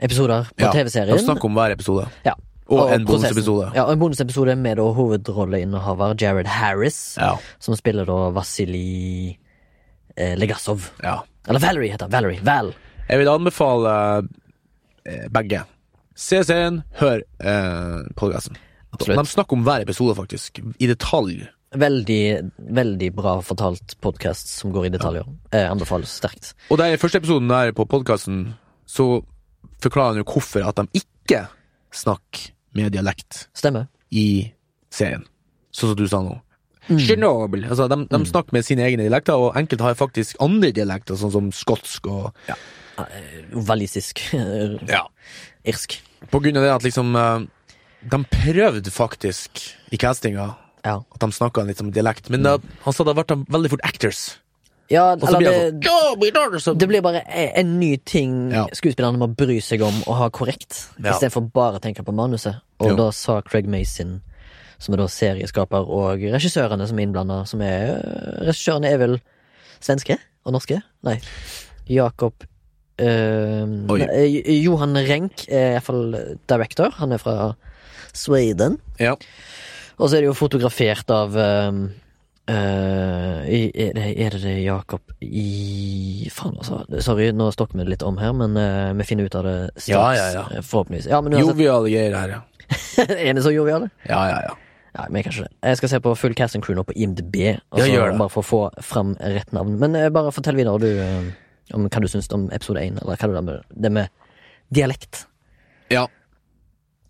Speaker 2: episoder på
Speaker 3: Ja, De
Speaker 2: TV-serien.
Speaker 3: snakker om hver episode.
Speaker 2: Ja.
Speaker 3: Og en
Speaker 2: prosessen.
Speaker 3: bonusepisode.
Speaker 2: Ja, og en bonusepisode med da hovedrolleinnehaver Jared Harris,
Speaker 3: Ja.
Speaker 2: som spiller da Vasili eh, Legasov.
Speaker 3: ja.
Speaker 2: Eller Valerie heter han. Valerie. Val.
Speaker 3: Jeg vil anbefale eh, begge. Se serien, hør eh, podcasten.
Speaker 2: Absolutt.
Speaker 3: De snakker om hver episode, faktisk. I detalj.
Speaker 2: Veldig, veldig bra fortalt podkast som går i detaljer. Eh, anbefales sterkt.
Speaker 3: Og der i første episoden der på podkasten, så forklarer han jo hvorfor at de ikke snakker med dialekt
Speaker 2: Stemmer.
Speaker 3: i serien. Sånn som du sa nå. Chernobyl. Altså, de, de snakker med sine egne dialekter, og enkelte har faktisk andre dialekter, sånn som skotsk og
Speaker 2: Walisisk. <laughs>
Speaker 3: Ja.
Speaker 2: Irsk.
Speaker 3: På grunn av det at liksom eh, De prøvde faktisk i castinga
Speaker 2: Ja.
Speaker 3: at de snakka litt som dialekt, men da, han sa da ble de veldig fort actors.
Speaker 2: Ja,
Speaker 3: Og så
Speaker 2: Mm. eller
Speaker 3: blir det sånn
Speaker 2: det,
Speaker 3: «Ja, my daughter», så-
Speaker 2: det blir bare en, en ny ting
Speaker 3: Ja.
Speaker 2: skuespillerne må bry seg om og ha korrekt,
Speaker 3: Ja.
Speaker 2: istedenfor bare å tenke på manuset. Og
Speaker 3: Jo.
Speaker 2: da sa Craig Mason, som er da serieskaper, og regissørene som er innblanda, som er eh, Regissørene er vel svenske og norske? Nei. Jakob eh,
Speaker 3: Oi.
Speaker 2: nei, eh, Johan Renk er iallfall director. Han er fra Sweden.
Speaker 3: Ja.
Speaker 2: Og så er det jo fotografert av ehm, eh, i- er, det, er det det Jakob i Faen, altså. Sorry, nå stokker vi det litt om her, men eh, vi finner ut av det straks.
Speaker 3: Ja, ja, ja.
Speaker 2: eh, Forhåpentligvis. Ja, men uansett,
Speaker 3: Joviale greier her, ja.
Speaker 2: <laughs> er det så joviale?
Speaker 3: Ja, ja, ja.
Speaker 2: Nei, men kanskje det. Jeg skal se på full cast and crew nå på IMDb, og
Speaker 3: Ja,
Speaker 2: så
Speaker 3: gjør det.
Speaker 2: bare for å få fram rett navn. Men eh, bare fortell videre du, eh, om hva du syns om episode én, eller hva du det med, det med dialekt.
Speaker 3: Ja.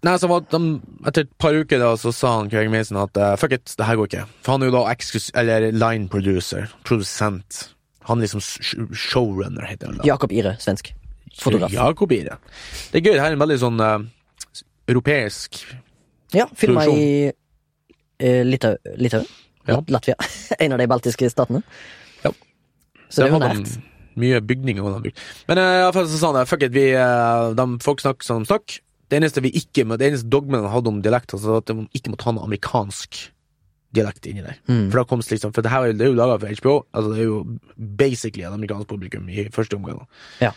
Speaker 3: Nei, så var de, Etter et par uker da, så sa han Craig Mason at eh, fuck it, det her går ikke. For han er jo da excuse, eller line producer. Produsent. Han er liksom sh- showrunner, heter han. da.
Speaker 2: Jakob Ire, svensk. Fotograf.
Speaker 3: Jakob Ire. Det er gøy. Det her er en veldig sånn eh, europeisk
Speaker 2: Ja, filma
Speaker 3: Produksjon.
Speaker 2: i eh, Litau, Litauen.
Speaker 3: Ja.
Speaker 2: Lat- Latvia. <laughs> en av de baltiske statene.
Speaker 3: Ja.
Speaker 2: Så det er jo
Speaker 3: Der hadde
Speaker 2: nært.
Speaker 3: de Mye bygninger hadde de bygd. Men eh, i alle fall så sa han det. Fuck it, vi, eh, de folk snakker som de snakker. Det eneste vi ikke må, det eneste dogmen han hadde om dialekter, så var at de ikke måtte ha noe amerikansk dialekt inni der.
Speaker 2: Mm.
Speaker 3: For da kom det liksom, for det her er jo- det er jo laga for HBO, altså det er jo basically et amerikansk publikum i første omgang. da.
Speaker 2: Ja.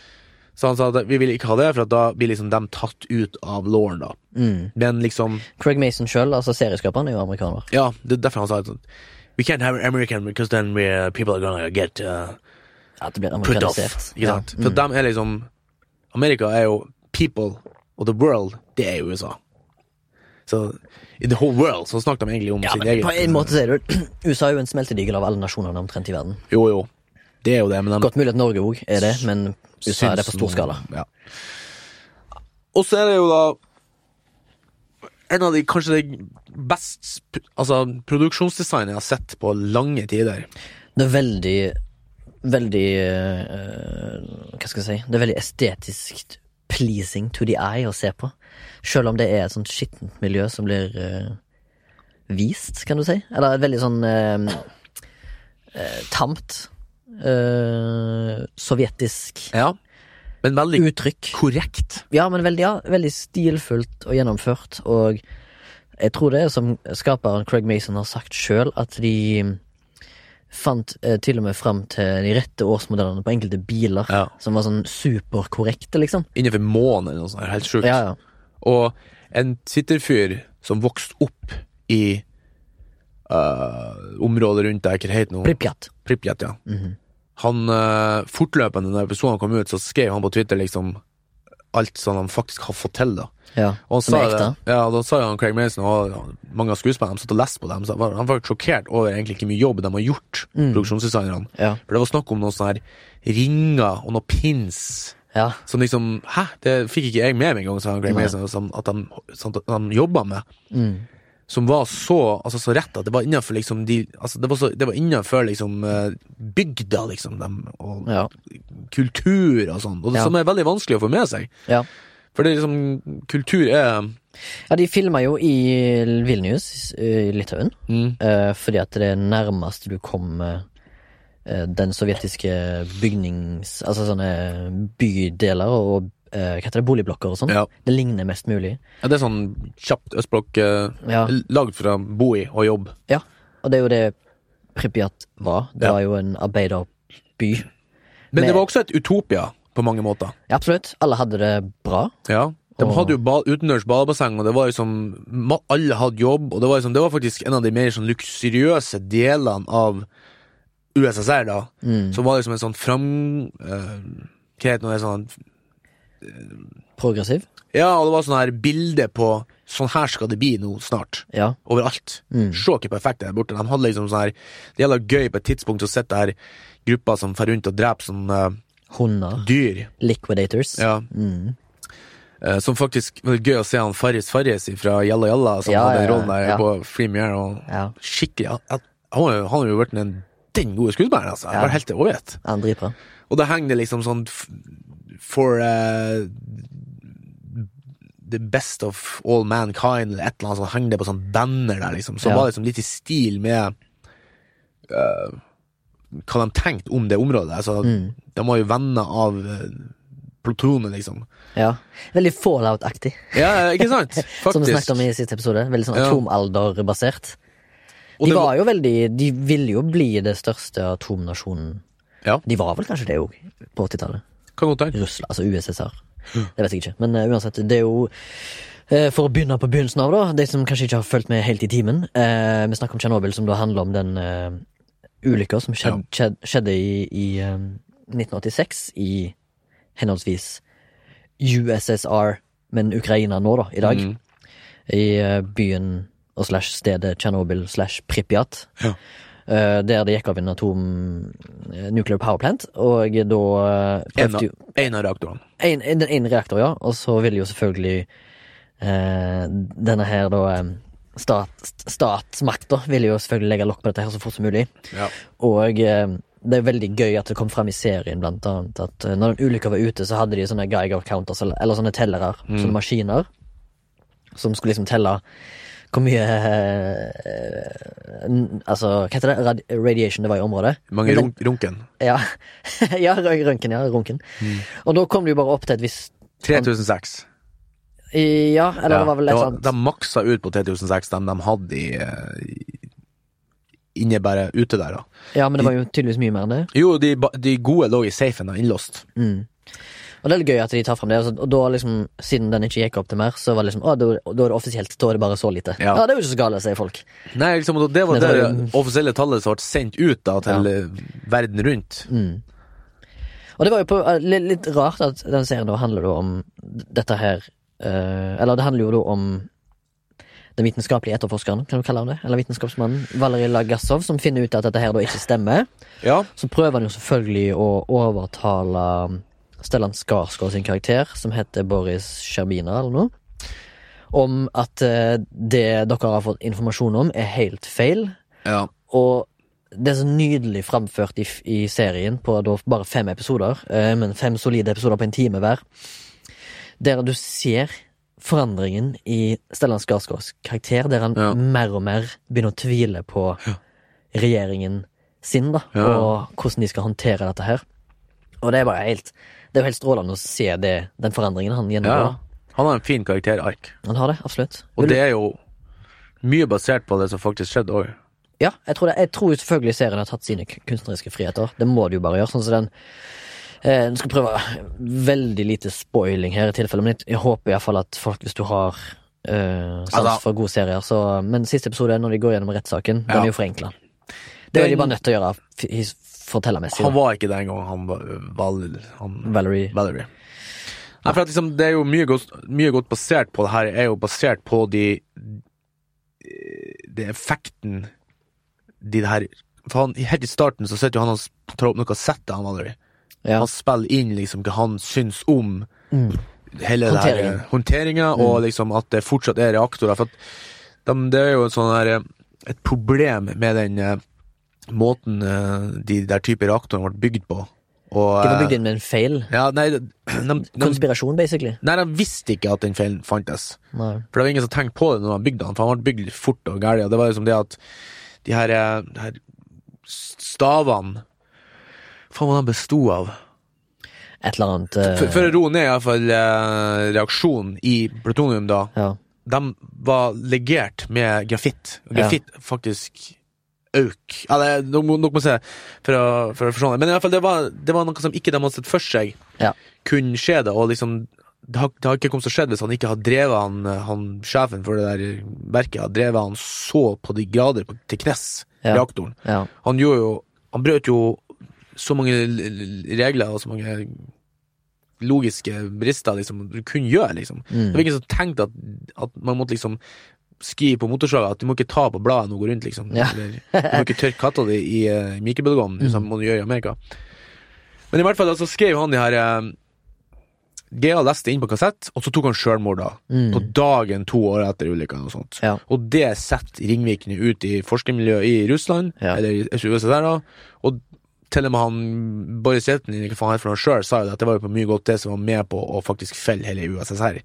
Speaker 3: Så han sa at vi vil ikke ha det, for at da blir liksom dem tatt ut av lauren, da.
Speaker 2: Mm.
Speaker 3: Men liksom
Speaker 2: Craig Mason sjøl, altså serieskaperen, er jo amerikaner.
Speaker 3: Ja, det er derfor han sa sånn We can't have American because then we, people are gonna get uh,
Speaker 2: Ja, det blir
Speaker 3: put off.
Speaker 2: amerikanisert.
Speaker 3: Ikke sant? For dem er liksom Amerika er jo people, og the world, det er jo USA. Så i the whole world så snakker de egentlig om
Speaker 2: Ja,
Speaker 3: sin
Speaker 2: men
Speaker 3: egen
Speaker 2: på en måte så er det jo <clears throat> USA er jo en smeltedigel av alle nasjonene omtrent i verden.
Speaker 3: Jo, jo. Det er jo det, men de
Speaker 2: Godt mulig at Norge òg er det, men USA er det på
Speaker 3: syns
Speaker 2: stor
Speaker 3: noe-
Speaker 2: skala.
Speaker 3: Ja. Og så er det jo da en av de kanskje de best altså, produksjonsdesignet jeg har sett på lange tider.
Speaker 2: Det er veldig Veldig eh, Hva skal jeg si? Det er veldig estetisk pleasing to the eye å se på. Selv om det er et sånt skittent miljø som blir eh, vist, kan du si. Eller et veldig sånn eh, eh, tamt eh, sovjetisk
Speaker 3: Ja. Men veldig
Speaker 2: uttrykk.
Speaker 3: korrekt.
Speaker 2: Ja, men veldig, ja, veldig stilfullt og gjennomført, og jeg tror det er som skaperen Craig Mason har sagt sjøl, at de fant eh, til og med fram til de rette årsmodellene på enkelte biler,
Speaker 3: Ja.
Speaker 2: som var sånn superkorrekte, liksom.
Speaker 3: Innenfor månen eller noe sånt. Helt sjukt.
Speaker 2: Ja, ja.
Speaker 3: Og en twitterfyr som vokste opp i øh, området rundt der, hva det heter nå?
Speaker 2: Pripjat.
Speaker 3: Pripjat, ja. Han øh, Fortløpende når episoden kom ut, så skrev han på Twitter liksom alt som han faktisk har fått til. da.
Speaker 2: Ja,
Speaker 3: Og han
Speaker 2: som
Speaker 3: sa
Speaker 2: er ekte.
Speaker 3: det, ja, da sa jo han Craig Mason og ja, mange av skuespillerne de satt og leste på dem, så var- han var sjokkert over egentlig ikke mye jobb de har gjort, produksjonsdesignerne.
Speaker 2: Ja.
Speaker 3: For det var snakk om noen sånne her ringer og noen pins
Speaker 2: Ja.
Speaker 3: som liksom Hæ, det fikk ikke jeg med meg engang, sa han Craig
Speaker 2: Nei. Mm.
Speaker 3: Mason, som, at de, som de jobba med. Som var så, altså, så rett at det var innenfor liksom de altså, Det var, så, det var innenfor liksom eh, bygda, liksom, dem, og
Speaker 2: Ja.
Speaker 3: kultur og sånn. Og det
Speaker 2: Ja.
Speaker 3: som er veldig vanskelig å få med seg.
Speaker 2: ja.
Speaker 3: For det er liksom Kultur er
Speaker 2: Ja, de filma jo i Vilnius eh, i Litauen,
Speaker 3: mm,
Speaker 2: eh, fordi at det er nærmest du kommer eh, den sovjetiske bygnings... Altså sånne bydeler og eh, hva heter det, boligblokker og sånn.
Speaker 3: Ja.
Speaker 2: Det ligner mest mulig.
Speaker 3: Ja, det er sånn kjapt østblokk eh,
Speaker 2: Ja.
Speaker 3: lagd for å bo i og jobbe.
Speaker 2: Ja, og det er jo det Pripjat var. Det
Speaker 3: Ja.
Speaker 2: var jo en arbeiderby.
Speaker 3: Men
Speaker 2: Men-
Speaker 3: det var også et utopia på mange måter.
Speaker 2: Ja, absolutt. Alle hadde det bra.
Speaker 3: Ja. De
Speaker 2: Og-
Speaker 3: hadde jo ba utendørs badebasseng, og det var liksom ma- Alle hadde jobb, og det var, liksom, det var faktisk en av de mer sånn luksuriøse delene av USSR, da. Som var liksom en sånn fram... eh, hva heter det sånn
Speaker 2: Progressiv.
Speaker 3: Ja, og det var sånn her bilde på Sånn her skal det bli nå snart.
Speaker 2: Ja.
Speaker 3: overalt. Se hvor perfekt det er der borte. De hadde liksom sånn her Det gjelder gøy på et tidspunkt å sitte her gruppa som fer rundt og dreper sånne
Speaker 2: Hunder.
Speaker 3: eh, dyr.
Speaker 2: Liquidators.
Speaker 3: Ja. Eh, som faktisk var gøy å se han Farris Farris fra Jalla Jalla, som
Speaker 2: Ja,
Speaker 3: hadde
Speaker 2: ja, ja,
Speaker 3: rollen der
Speaker 2: ja.
Speaker 3: på Free Mirror. Og
Speaker 2: Ja.
Speaker 3: Skikkelig han- han- Han har jo- han har jo blitt en den gode skuespilleren, altså. Jeg var helt overgitt.
Speaker 2: Han dritbra.
Speaker 3: Og da henger det liksom sånn f- For eh, the best of all mankind, eller et eller annet sånt, henger det på sånn banner der, liksom. Som
Speaker 2: Ja.
Speaker 3: var liksom litt i stil med eh, hva de tenkte om det området. Altså,
Speaker 2: Mm.
Speaker 3: De var jo venner av uh, plutonet, liksom.
Speaker 2: Ja. Veldig fallout-aktig.
Speaker 3: Ja, ikke sant? Faktisk.
Speaker 2: <laughs> Som vi snakket om i siste episode. Veldig sånn
Speaker 3: Ja.
Speaker 2: atomalderbasert.
Speaker 3: Og
Speaker 2: De
Speaker 3: det
Speaker 2: var jo veldig De ville jo bli det største atomnasjonen
Speaker 3: Ja.
Speaker 2: De var vel kanskje det òg, på 80-tallet.
Speaker 3: Kan godt hende.
Speaker 2: Russland, altså USSR. Det vet jeg ikke. Men eh, uansett, det er jo eh, For å begynne på begynnelsen av, da, de som kanskje ikke har fulgt med helt i timen. eh, vi snakker om Tsjernobyl, som da handler om den uh, ulykka som skjed, skjed, skjedde i, i eh, 1986 i henholdsvis USSR, men Ukraina nå, da, i dag.
Speaker 3: Mm.
Speaker 2: I eh, byen og slash stedet Tsjernobyl slash Pripjat.
Speaker 3: Ja.
Speaker 2: Eh, der det gikk av en atom eh, nuclear power plant, og da eh,
Speaker 3: En
Speaker 2: prøvde jo
Speaker 3: av, en av reaktorene.
Speaker 2: en, en, en reaktor, ja. Og så vil jo selvfølgelig eh, denne her da eh, stat, Statsmakta vil jo selvfølgelig legge lokk på dette her så fort som mulig.
Speaker 3: Ja.
Speaker 2: Og eh, det er veldig gøy at det kom fram i serien, blant annet, at eh, når den ulykka var ute, så hadde de sånne Geiger counters, eller, eller sånne tellere, sånne maskiner, som skulle liksom telle hvor mye eh, n- Altså, hva heter det? Rad radiation det var i området.
Speaker 3: Mange
Speaker 2: Men den-
Speaker 3: runk, runken.
Speaker 2: ja, <laughs> ja rø- røntgen, ja, runken. Og da kom det jo bare opp til et visst
Speaker 3: 3006.
Speaker 2: i- Ja, eller det var vel sånn. et
Speaker 3: det var-
Speaker 2: sånt
Speaker 3: De maksa ut på 3006, de de hadde i eh, Inne bare ute der, da.
Speaker 2: Ja, men det var jo tydeligvis mye mer enn det.
Speaker 3: Jo, de, ba- de gode lå i safen, da, innlåst.
Speaker 2: Og det er litt gøy at de tar fram det. altså, Og da liksom, siden den ikke gikk opp til mer, så var det liksom Å, da da er det offisielt. Da er det bare så lite. Ja,
Speaker 3: Ja.
Speaker 2: det er jo ikke så galt, sier folk.
Speaker 3: Nei, liksom, og det var
Speaker 2: Men det
Speaker 3: det,
Speaker 2: var jo-
Speaker 3: offisielle tallet som ble sendt ut da, til eh, verden rundt.
Speaker 2: Og det var jo på, eh, litt, litt rart at den serien da handler da om dette her eh, Eller det handler jo da om den vitenskapelige etterforskeren, kan du kalle han det? Eller vitenskapsmannen Valerij Lagassov, som finner ut at dette her da ikke stemmer.
Speaker 3: Ja,
Speaker 2: Så prøver han jo selvfølgelig å overtale um, Stellan Skarsgård sin karakter, som heter Boris Sherbina eller noe, om at eh, det dere har fått informasjon om, er helt feil.
Speaker 3: ja.
Speaker 2: Og det er så nydelig framført i, f- i serien på da bare fem episoder, eh, men fem solide episoder på en time hver, der du ser forandringen i Stellan Skarsgårds karakter, der han
Speaker 3: Ja.
Speaker 2: mer og mer begynner å tvile på regjeringen sin, da,
Speaker 3: Ja.
Speaker 2: og hvordan de skal håndtere dette her. Og det er bare helt Det er jo helt strålende å se det, den forandringen han
Speaker 3: Ja.
Speaker 2: gjennomgår.
Speaker 3: Han har en fin karakterark,
Speaker 2: da. Han har det, absolutt.
Speaker 3: og
Speaker 2: Vil-
Speaker 3: det er jo mye basert på det som faktisk skjedde òg.
Speaker 2: Ja, jeg tror, det, jeg tror jo selvfølgelig serien har tatt sine k- kunstneriske friheter. Det må det jo bare gjøre. Sånn som den eh, Nå skal jeg prøve veldig lite spoiling her, i tilfelle, men jeg, jeg håper iallfall at folk, hvis du har eh, sans
Speaker 3: Altså-
Speaker 2: for gode serier så, Men siste episode er når de går gjennom rettssaken. Den
Speaker 3: Ja.
Speaker 2: er jo forenkla. Det er
Speaker 3: Den-
Speaker 2: de bare nødt til å gjøre f- his- fortellermessig.
Speaker 3: Han
Speaker 2: da.
Speaker 3: var ikke det engang, han var val- han,
Speaker 2: Valerie
Speaker 3: Valerie. Nei, for at liksom, det er jo mye godt, mye godt basert på det her, er jo basert på de Det effekten de det her For han, helt i starten så sitter jo han og s- tar opp noe sett av han Valerie.
Speaker 2: Ja.
Speaker 3: Han spiller inn liksom hva han syns om
Speaker 2: Mm.
Speaker 3: hele det her,
Speaker 2: Håndteringen. Mm.
Speaker 3: eh, håndteringen, og liksom at det fortsatt er reaktorer. For at de, det er jo en sånn her, eh, et problem med den eh, måten eh, de der type reaktorene ble bygd på. Og,
Speaker 2: De var
Speaker 3: eh,
Speaker 2: bygd inn med en feil.
Speaker 3: ja, nei, de, de, de,
Speaker 2: Konspirasjon, basically.
Speaker 3: nei, de visste ikke at den feilen fantes.
Speaker 2: Nei.
Speaker 3: For det var ingen som tenkte på det når de bygde den, for han ble bygd fort og gærent. Og det var liksom det at de her, eh, de her stavene Faen, hva de besto av?
Speaker 2: Et eller annet eh,
Speaker 3: For, for å roe ned iallfall eh, reaksjonen i plutonium, da.
Speaker 2: ja.
Speaker 3: De var legert med grafitt. Og
Speaker 2: Ja.
Speaker 3: grafitt faktisk øk. Ja, det er nok, nok må jeg si for å, for å forstå det. Men i alle fall, det var, det var noe som ikke de hadde sett for seg
Speaker 2: Ja.
Speaker 3: kunne skje det, og liksom det har, det har ikke kommet til å skje hvis han ikke har drevet han, han sjefen for det der verket, har drevet han så på de grader på, til knes,
Speaker 2: Ja.
Speaker 3: reaktoren.
Speaker 2: ja.
Speaker 3: Han gjorde jo Han brøt jo så mange l- l- regler og så mange logiske brister liksom, du kunne gjøre, liksom. Det var ingen som tenkte at, at man måtte liksom skrive på motorsaga at du må ikke ta på bladet når du går rundt, liksom.
Speaker 2: Ja.
Speaker 3: Eller, du må ikke tørke katta di i uh, mikrobølgeovnen, som man gjør i Amerika. Men i hvert fall, så skrev han de her eh, Gea leste inn på kassett, og så tok han sjølmord da. På dagen to år etter ulykka. Og sånt.
Speaker 2: Ja.
Speaker 3: Og det setter ringvirkninger ut i forskermiljøet i Russland,
Speaker 2: Ja.
Speaker 3: eller i USSR, da. Og til og med han Boris Jeltsin, eller hva faen han heter for noe sjøl, sa jo det at det var jo på mye godt det som var med på å faktisk felle hele USSR.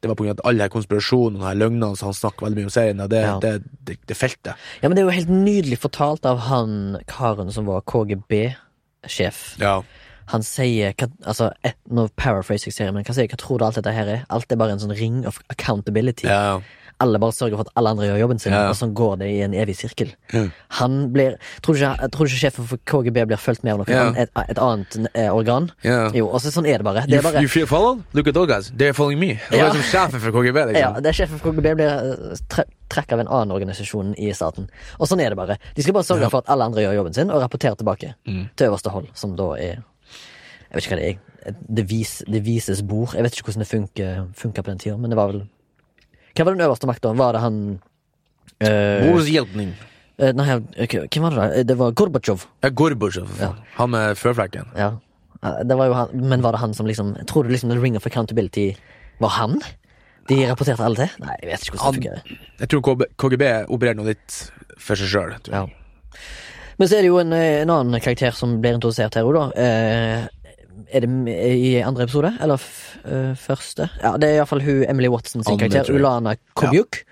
Speaker 3: Det var på grunn av at alle her konspirasjonene og her løgnene som han snakker veldig mye om i serien, det,
Speaker 2: Ja.
Speaker 3: det, det, det felte.
Speaker 2: Ja, men det er jo helt nydelig fortalt av han karen som var KGB-sjef.
Speaker 3: Ja. han
Speaker 2: Han sier hva, altså, eh, Nå paraphraser jeg serien, men hva sier hva tror du alt dette her er? Alt er bare en sånn ring of accountability.
Speaker 3: Ja.
Speaker 2: Alle bare sørger for at alle andre gjør jobben sin,
Speaker 3: Ja.
Speaker 2: og sånn går det i en evig sirkel.
Speaker 3: Ja.
Speaker 2: Han blir Tror du ikke, tror du ikke sjefen for KGB blir fulgt med av noe
Speaker 3: Ja.
Speaker 2: annet- et, et annet eh, organ?
Speaker 3: Ja.
Speaker 2: Jo, og så sånn er det bare. Det er bare
Speaker 3: fear follow? Look at those guys. They're following me. Det
Speaker 2: Ja.
Speaker 3: var liksom sjefen for KGB, liksom.
Speaker 2: ja, det er sjefen for KGB blir eh, tre trekk av en annen organisasjon i staten. Og sånn er det bare. De skal bare sørge for at alle andre gjør jobben sin, og rapportere tilbake til øverste hold, som da er Jeg vet ikke hva det er. et- Det, vis, det vises bord. Jeg vet ikke hvordan det funker, funker på den tida, men det var vel Hvem var den øverste makta? Var det han eh,
Speaker 3: Boris Jeltsin.
Speaker 2: eh, Nei, ok, hvem var det da? Eh, Det var Gorbatsjov.
Speaker 3: Ja, Gorbatsjov. Han med førflekken.
Speaker 2: Ja. Eh, Det var jo han, men var det han som liksom Tror du liksom The Ring of Accountability var han? De rapporterte alle til? Nei, jeg vet ikke hvordan det fungerer.
Speaker 3: Jeg tror KB KGB opererer noe litt for seg sjøl.
Speaker 2: Ja. Men så er det jo en, eh, en annen karakter som blir introdusert her òg, da. Eh, er det m- i andre episode? Eller f eh, første? Ja, Det er iallfall hun Emily Watson sin
Speaker 3: Andre,
Speaker 2: karakter,
Speaker 3: tror jeg.
Speaker 2: Ulana Kobjuk.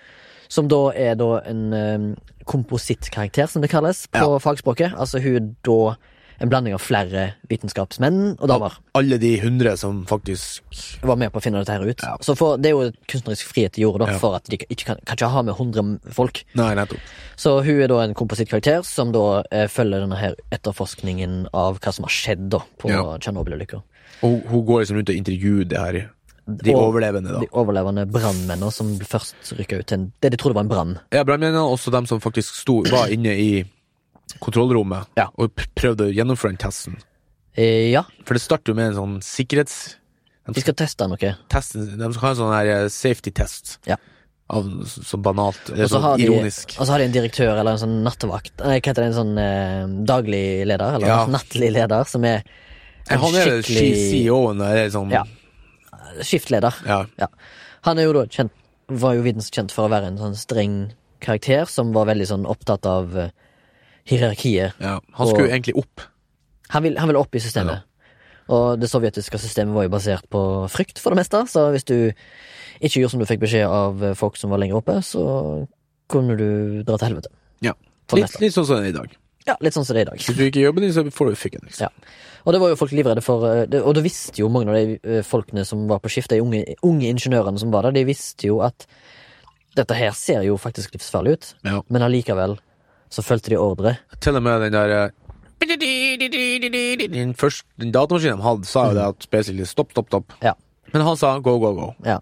Speaker 2: Som da er da en eh, komposittkarakter, som det kalles på fagspråket. Altså hun er da en blanding av flere vitenskapsmenn og damer.
Speaker 3: Alle de hundre som faktisk
Speaker 2: Var med på å finne dette her ut.
Speaker 3: Ja.
Speaker 2: Så for, det er jo kunstnerisk frihet de gjorde, da,
Speaker 3: Ja.
Speaker 2: for at de ikke kan, kan ikke ha med 100 folk.
Speaker 3: Nei, nettopp.
Speaker 2: Så hun er da en komposittkarakter som da eh, følger denne her etterforskningen av hva som har skjedd da på
Speaker 3: Ja.
Speaker 2: Tsjernobyl-ulykka.
Speaker 3: Og hun går liksom rundt og intervjuer det her. De
Speaker 2: Og-
Speaker 3: overlevende, da.
Speaker 2: De overlevende brannmennene som først rykka ut til en, det de trodde var en brann.
Speaker 3: Ja, Brannmennene, også dem som faktisk sto, var inne i kontrollrommet
Speaker 2: Ja.
Speaker 3: og p- prøvde å gjennomføre den testen.
Speaker 2: Eh, ja,
Speaker 3: For det starter jo med en sånn sikkerhets...
Speaker 2: de skal teste noe.
Speaker 3: Test, de skal ha en sånn her eh, safety test.
Speaker 2: Ja.
Speaker 3: Av, så banalt. Eller
Speaker 2: Og så
Speaker 3: så
Speaker 2: har, de, og
Speaker 3: sånn ironisk.
Speaker 2: så har de en direktør eller en sånn nattevakt Nei, hva heter det, en sånn eh, daglig leder, eller
Speaker 3: Ja.
Speaker 2: nattlig leder, som er en
Speaker 3: Eh, han er skikkelig...
Speaker 2: skikkelig
Speaker 3: CEO-en der, liksom.
Speaker 2: Ja. skiftleder.
Speaker 3: Ja.
Speaker 2: Ja. Han er jo da kjent, var jo vitens kjent for å være en sånn streng karakter som var veldig sånn opptatt av eh, hierarkiet.
Speaker 3: Ja. Han skulle
Speaker 2: Og-
Speaker 3: egentlig opp.
Speaker 2: Han vil, han vil opp i systemet. Og det sovjetiske systemet var jo basert på frykt, for det meste. Så hvis du ikke gjorde som du fikk beskjed av eh, folk som var lenger oppe, så kunne du dra til helvete.
Speaker 3: Ja.
Speaker 2: For det
Speaker 3: Litt, litt sånn som det er i dag.
Speaker 2: Ja, litt sånn som det er i dag.
Speaker 3: Hvis du ikke gjør jobben din, så får du fikken. Liksom.
Speaker 2: Ja. Og det var jo folk livredde for eh, det- Og det visste jo mange av de eh, folkene som var på skift, de unge, unge ingeniørene som var der, de visste jo at dette her ser jo faktisk livsfarlig ut,
Speaker 3: Ja.
Speaker 2: men allikevel så fulgte de ordre.
Speaker 3: Til og med den der eh, den, første, den datamaskinen de hadde, sa jo det
Speaker 2: Mm.
Speaker 3: at basically stopp, stopp, stopp.
Speaker 2: Ja.
Speaker 3: Men han sa go, go, go.
Speaker 2: ja.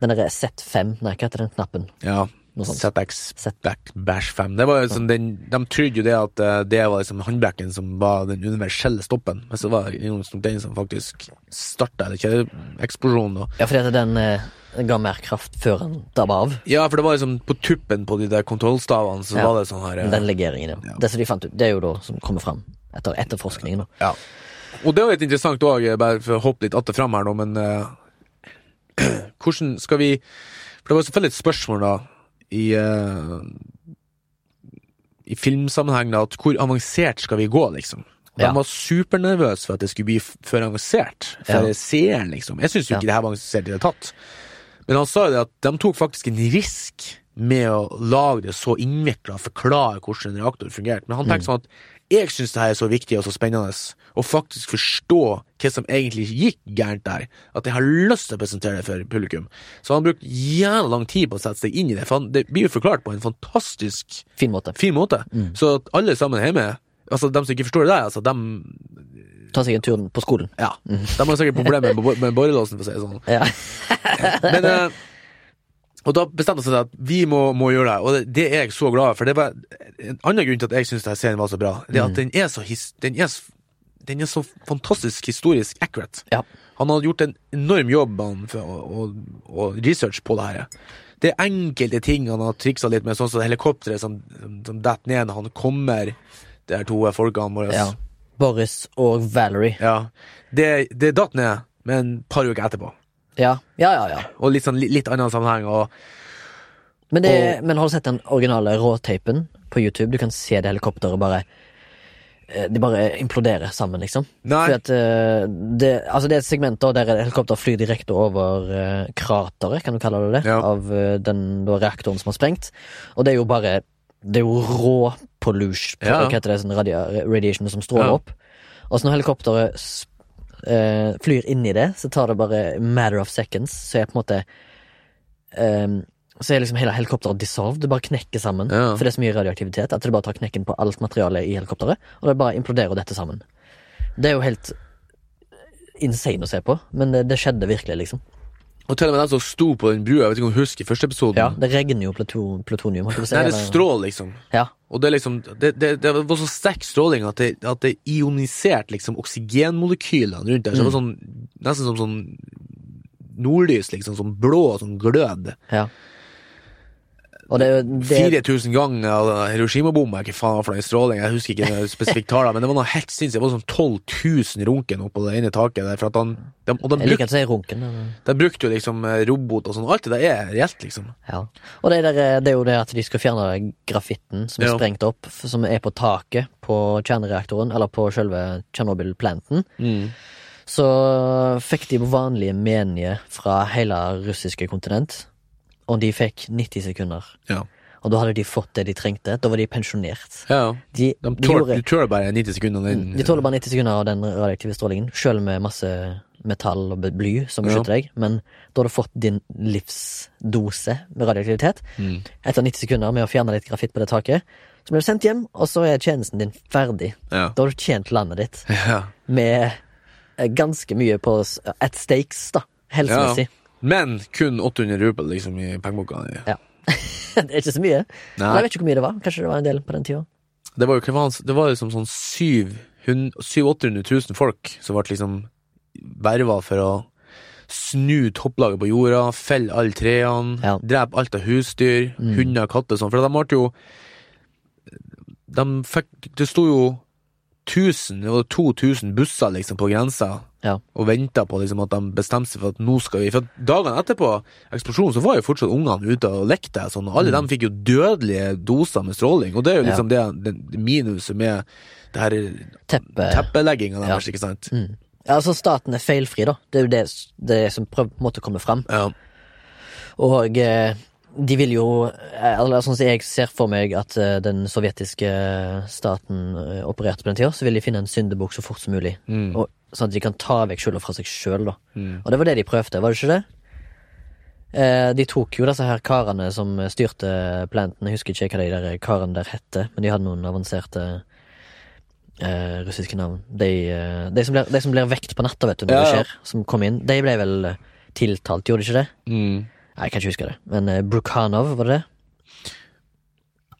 Speaker 2: Den derre Z5, nei, hva heter den knappen?
Speaker 3: Ja.
Speaker 2: Noe sånt.
Speaker 3: ZX
Speaker 2: Z-
Speaker 3: Back Bash 5. Det var jo liksom den, de trodde jo det at eh, det var liksom håndbrekken som var den universelle stoppen, men så var det noen som- den som faktisk starta kjøreeksplosjonen. og-
Speaker 2: Ja, fordi at den eh, ga mer kraft før han dabba av.
Speaker 3: Ja, for det var liksom på tuppen på de der kontrollstavene, så
Speaker 2: Ja.
Speaker 3: var det sånn her eh,
Speaker 2: Den legeringen, ja. Det som de fant ut, det er jo da som kommer fram etter etterforskningen. da.
Speaker 3: Ja. Og det er jo litt interessant òg, bare for å hoppe litt atter fram her nå, men eh, <clears throat> hvordan skal vi For det var selvfølgelig et spørsmål, da, i eh, i filmsammenheng, da, at hvor avansert skal vi gå, liksom? Og
Speaker 2: Ja.
Speaker 3: De var supernervøse for at det skulle bli f- for avansert for
Speaker 2: Ja.
Speaker 3: seeren, liksom. Jeg syns jo
Speaker 2: Ja.
Speaker 3: ikke det her var avansert i det hele tatt. Men han sa jo det at de tok faktisk en risk med å lage det så innvikla og forklare hvordan en reaktor fungerte. Men han tenkte sånn at jeg syns det her er så viktig og så spennende, og faktisk forstå hva som egentlig gikk gærent der, at jeg har lyst til å presentere det for publikum. Så han brukte jævla lang tid på å sette seg inn i det, for han, det blir jo forklart på en fantastisk
Speaker 2: Fin måte.
Speaker 3: fin måte. Så at alle sammen hjemme, altså dem som ikke forstår det der, altså dem
Speaker 2: Ta seg en tur på skolen.
Speaker 3: ja. De har sikkert problemer med, bo- med borrelåsen, for å si det sånn.
Speaker 2: Ja.
Speaker 3: Men eh, Og da bestemte jeg seg at vi må, må gjøre det, her, og det, det er jeg så glad for. Det var En annen grunn til at jeg syns denne serien var så bra, det er
Speaker 2: Mm.
Speaker 3: at den er så his, den er, s- den er så fantastisk historisk accurate.
Speaker 2: <laughs> Ja.
Speaker 3: Han hadde gjort en enorm jobb han, for å, å, å research på det her. Det er enkelte ting han har triksa litt med, sånn som helikopteret som, som detter ned når han kommer, de her to folkene våre.
Speaker 2: ja. Boris og Valerie.
Speaker 3: Ja. Det, det datt ned, men et par uker etterpå.
Speaker 2: Ja, ja, ja. ja.
Speaker 3: Og litt, sånn, litt, litt annen sammenheng. og
Speaker 2: Men, det, men har du sett den originale råtapen på YouTube? Du kan se det helikopteret bare eh, De bare imploderer sammen, liksom.
Speaker 3: Nei.
Speaker 2: Fordi at eh, det, altså det er et segment da der helikopteret flyr direkte over eh, krateret, kan du kalle det det,
Speaker 3: Ja.
Speaker 2: av eh, den da, reaktoren som har sprengt. Og det er jo bare Det er jo rå pollution,
Speaker 3: Ja.
Speaker 2: hva heter det, sånn radia- radiation som stråler
Speaker 3: Ja.
Speaker 2: opp. Og så når helikopteret s- eh, flyr inn i det, så tar det bare matter of seconds, så er på en måte ehm, så er liksom hele helikopteret dissolved. Det bare knekker sammen.
Speaker 3: Ja.
Speaker 2: For det er så mye radioaktivitet at det bare tar knekken på alt materialet i helikopteret. Og det bare imploderer dette sammen. Det er jo helt insane å se på, men det, det skjedde virkelig, liksom.
Speaker 3: Og til og med den som sto på den brua, jeg vet ikke om du husker første episoden.
Speaker 2: Det regner jo pluto- plutonium. holdt jeg på å si,
Speaker 3: Nei, det
Speaker 2: eller-
Speaker 3: strål, liksom.
Speaker 2: Ja.
Speaker 3: Og det, er liksom, det, det, det var så sterk stråling at det, at det ioniserte liksom, oksygenmolekylene rundt der. Så
Speaker 2: Mm.
Speaker 3: det var sånn, nesten som sånn nordlys, liksom. Sånn blå, sånn glød.
Speaker 2: ja. Og det, det
Speaker 3: 4000 ganger av den Hiroshima-bomba, ikke faen for den stråling, jeg husker ikke det spesifikke tallet, men det var noe helt sinnssykt. Det var sånn 12 000 runken oppå det ene taket der. For at han, de, og de
Speaker 2: Jeg liker
Speaker 3: brukte,
Speaker 2: at du sier runken. men-
Speaker 3: de brukte jo liksom eh, robot og sånn. Alt det der er reelt, liksom.
Speaker 2: Ja. Og det, der, eh, det er jo det at de skal fjerne grafitten som er
Speaker 3: Ja.
Speaker 2: sprengt opp, f- som er på taket på kjernereaktoren, eller på selve Tsjernobyl-planten. Så fikk de vanlige menige fra hele russiske kontinent, og de fikk 90 sekunder.
Speaker 3: Ja.
Speaker 2: Og da hadde de fått det de trengte. Da var de pensjonert.
Speaker 3: ja.
Speaker 2: De,
Speaker 3: De
Speaker 2: de,
Speaker 3: tål,
Speaker 2: gjorde, Mm,
Speaker 3: du tåler bare 90 sekunder. Den,
Speaker 2: de tåler bare 90 sekunder av den radioaktive strålingen, sjøl med masse metall og bly som
Speaker 3: Ja.
Speaker 2: beskytter deg, men da har du fått din livsdose med radioaktivitet.
Speaker 3: Mm.
Speaker 2: Etter 90 sekunder med å fjerne litt grafitt på det taket, så blir du sendt hjem, og så er tjenesten din ferdig.
Speaker 3: Ja.
Speaker 2: Da har du tjent landet ditt
Speaker 3: Ja.
Speaker 2: med eh, ganske mye på s- at stakes, da.
Speaker 3: Ja.
Speaker 2: Helsemessig.
Speaker 3: Men kun 800 rubel liksom, i pengeboka. di.
Speaker 2: Ja. <laughs> det er ikke så mye.
Speaker 3: Nei.
Speaker 2: Men Jeg vet ikke hvor mye det var. Kanskje det var en del på den tida.
Speaker 3: Det var jo hva faen- det var liksom sånn 700 700 000 folk som ble liksom verva for å snu topplaget på jorda, felle alle trærne,
Speaker 2: Ja. Mm.
Speaker 3: drepe alt av husdyr, hunder, katter og sånn. For de ble jo De fikk Det sto jo 1000, det var 2000 busser liksom på grensa.
Speaker 2: Ja.
Speaker 3: og venta på liksom at de bestemte seg for at nå skal vi For at dagene etterpå eksplosjonen, så var jo fortsatt ungene ute og lekte. og Sånn, og alle
Speaker 2: Mm.
Speaker 3: dem fikk jo dødelige doser med stråling, og det er jo liksom det, det minuset med det her
Speaker 2: Teppet.
Speaker 3: teppelegginga
Speaker 2: Eh, Ja.
Speaker 3: deres, ikke sant.
Speaker 2: Ja, altså Staten er feilfri, da. Det er jo det, det som prøv, måtte komme fram.
Speaker 3: Ja.
Speaker 2: Og eh, de vil jo eh, eller Sånn som jeg ser for meg at eh, den sovjetiske staten eh, opererte på den tida, så vil de finne en syndebukk så fort som mulig.
Speaker 3: Mm.
Speaker 2: Og, sånn at de kan ta vekk skylda fra seg sjøl, da. Og det var det de prøvde, var det ikke det? Eh, de tok jo disse her karene som styrte planten, jeg husker ikke hva de der karene der hette, men de hadde noen avanserte eh, russiske navn. De, eh, de, som blir, de som blir vekt på natta, vet du, når
Speaker 3: Ja,
Speaker 2: det
Speaker 3: ja.
Speaker 2: skjer, som kom inn, de ble vel eh, tiltalt, gjorde de ikke det?
Speaker 3: Mm.
Speaker 2: Nei, jeg kan ikke huske det, men eh, Brukhanov, var det det?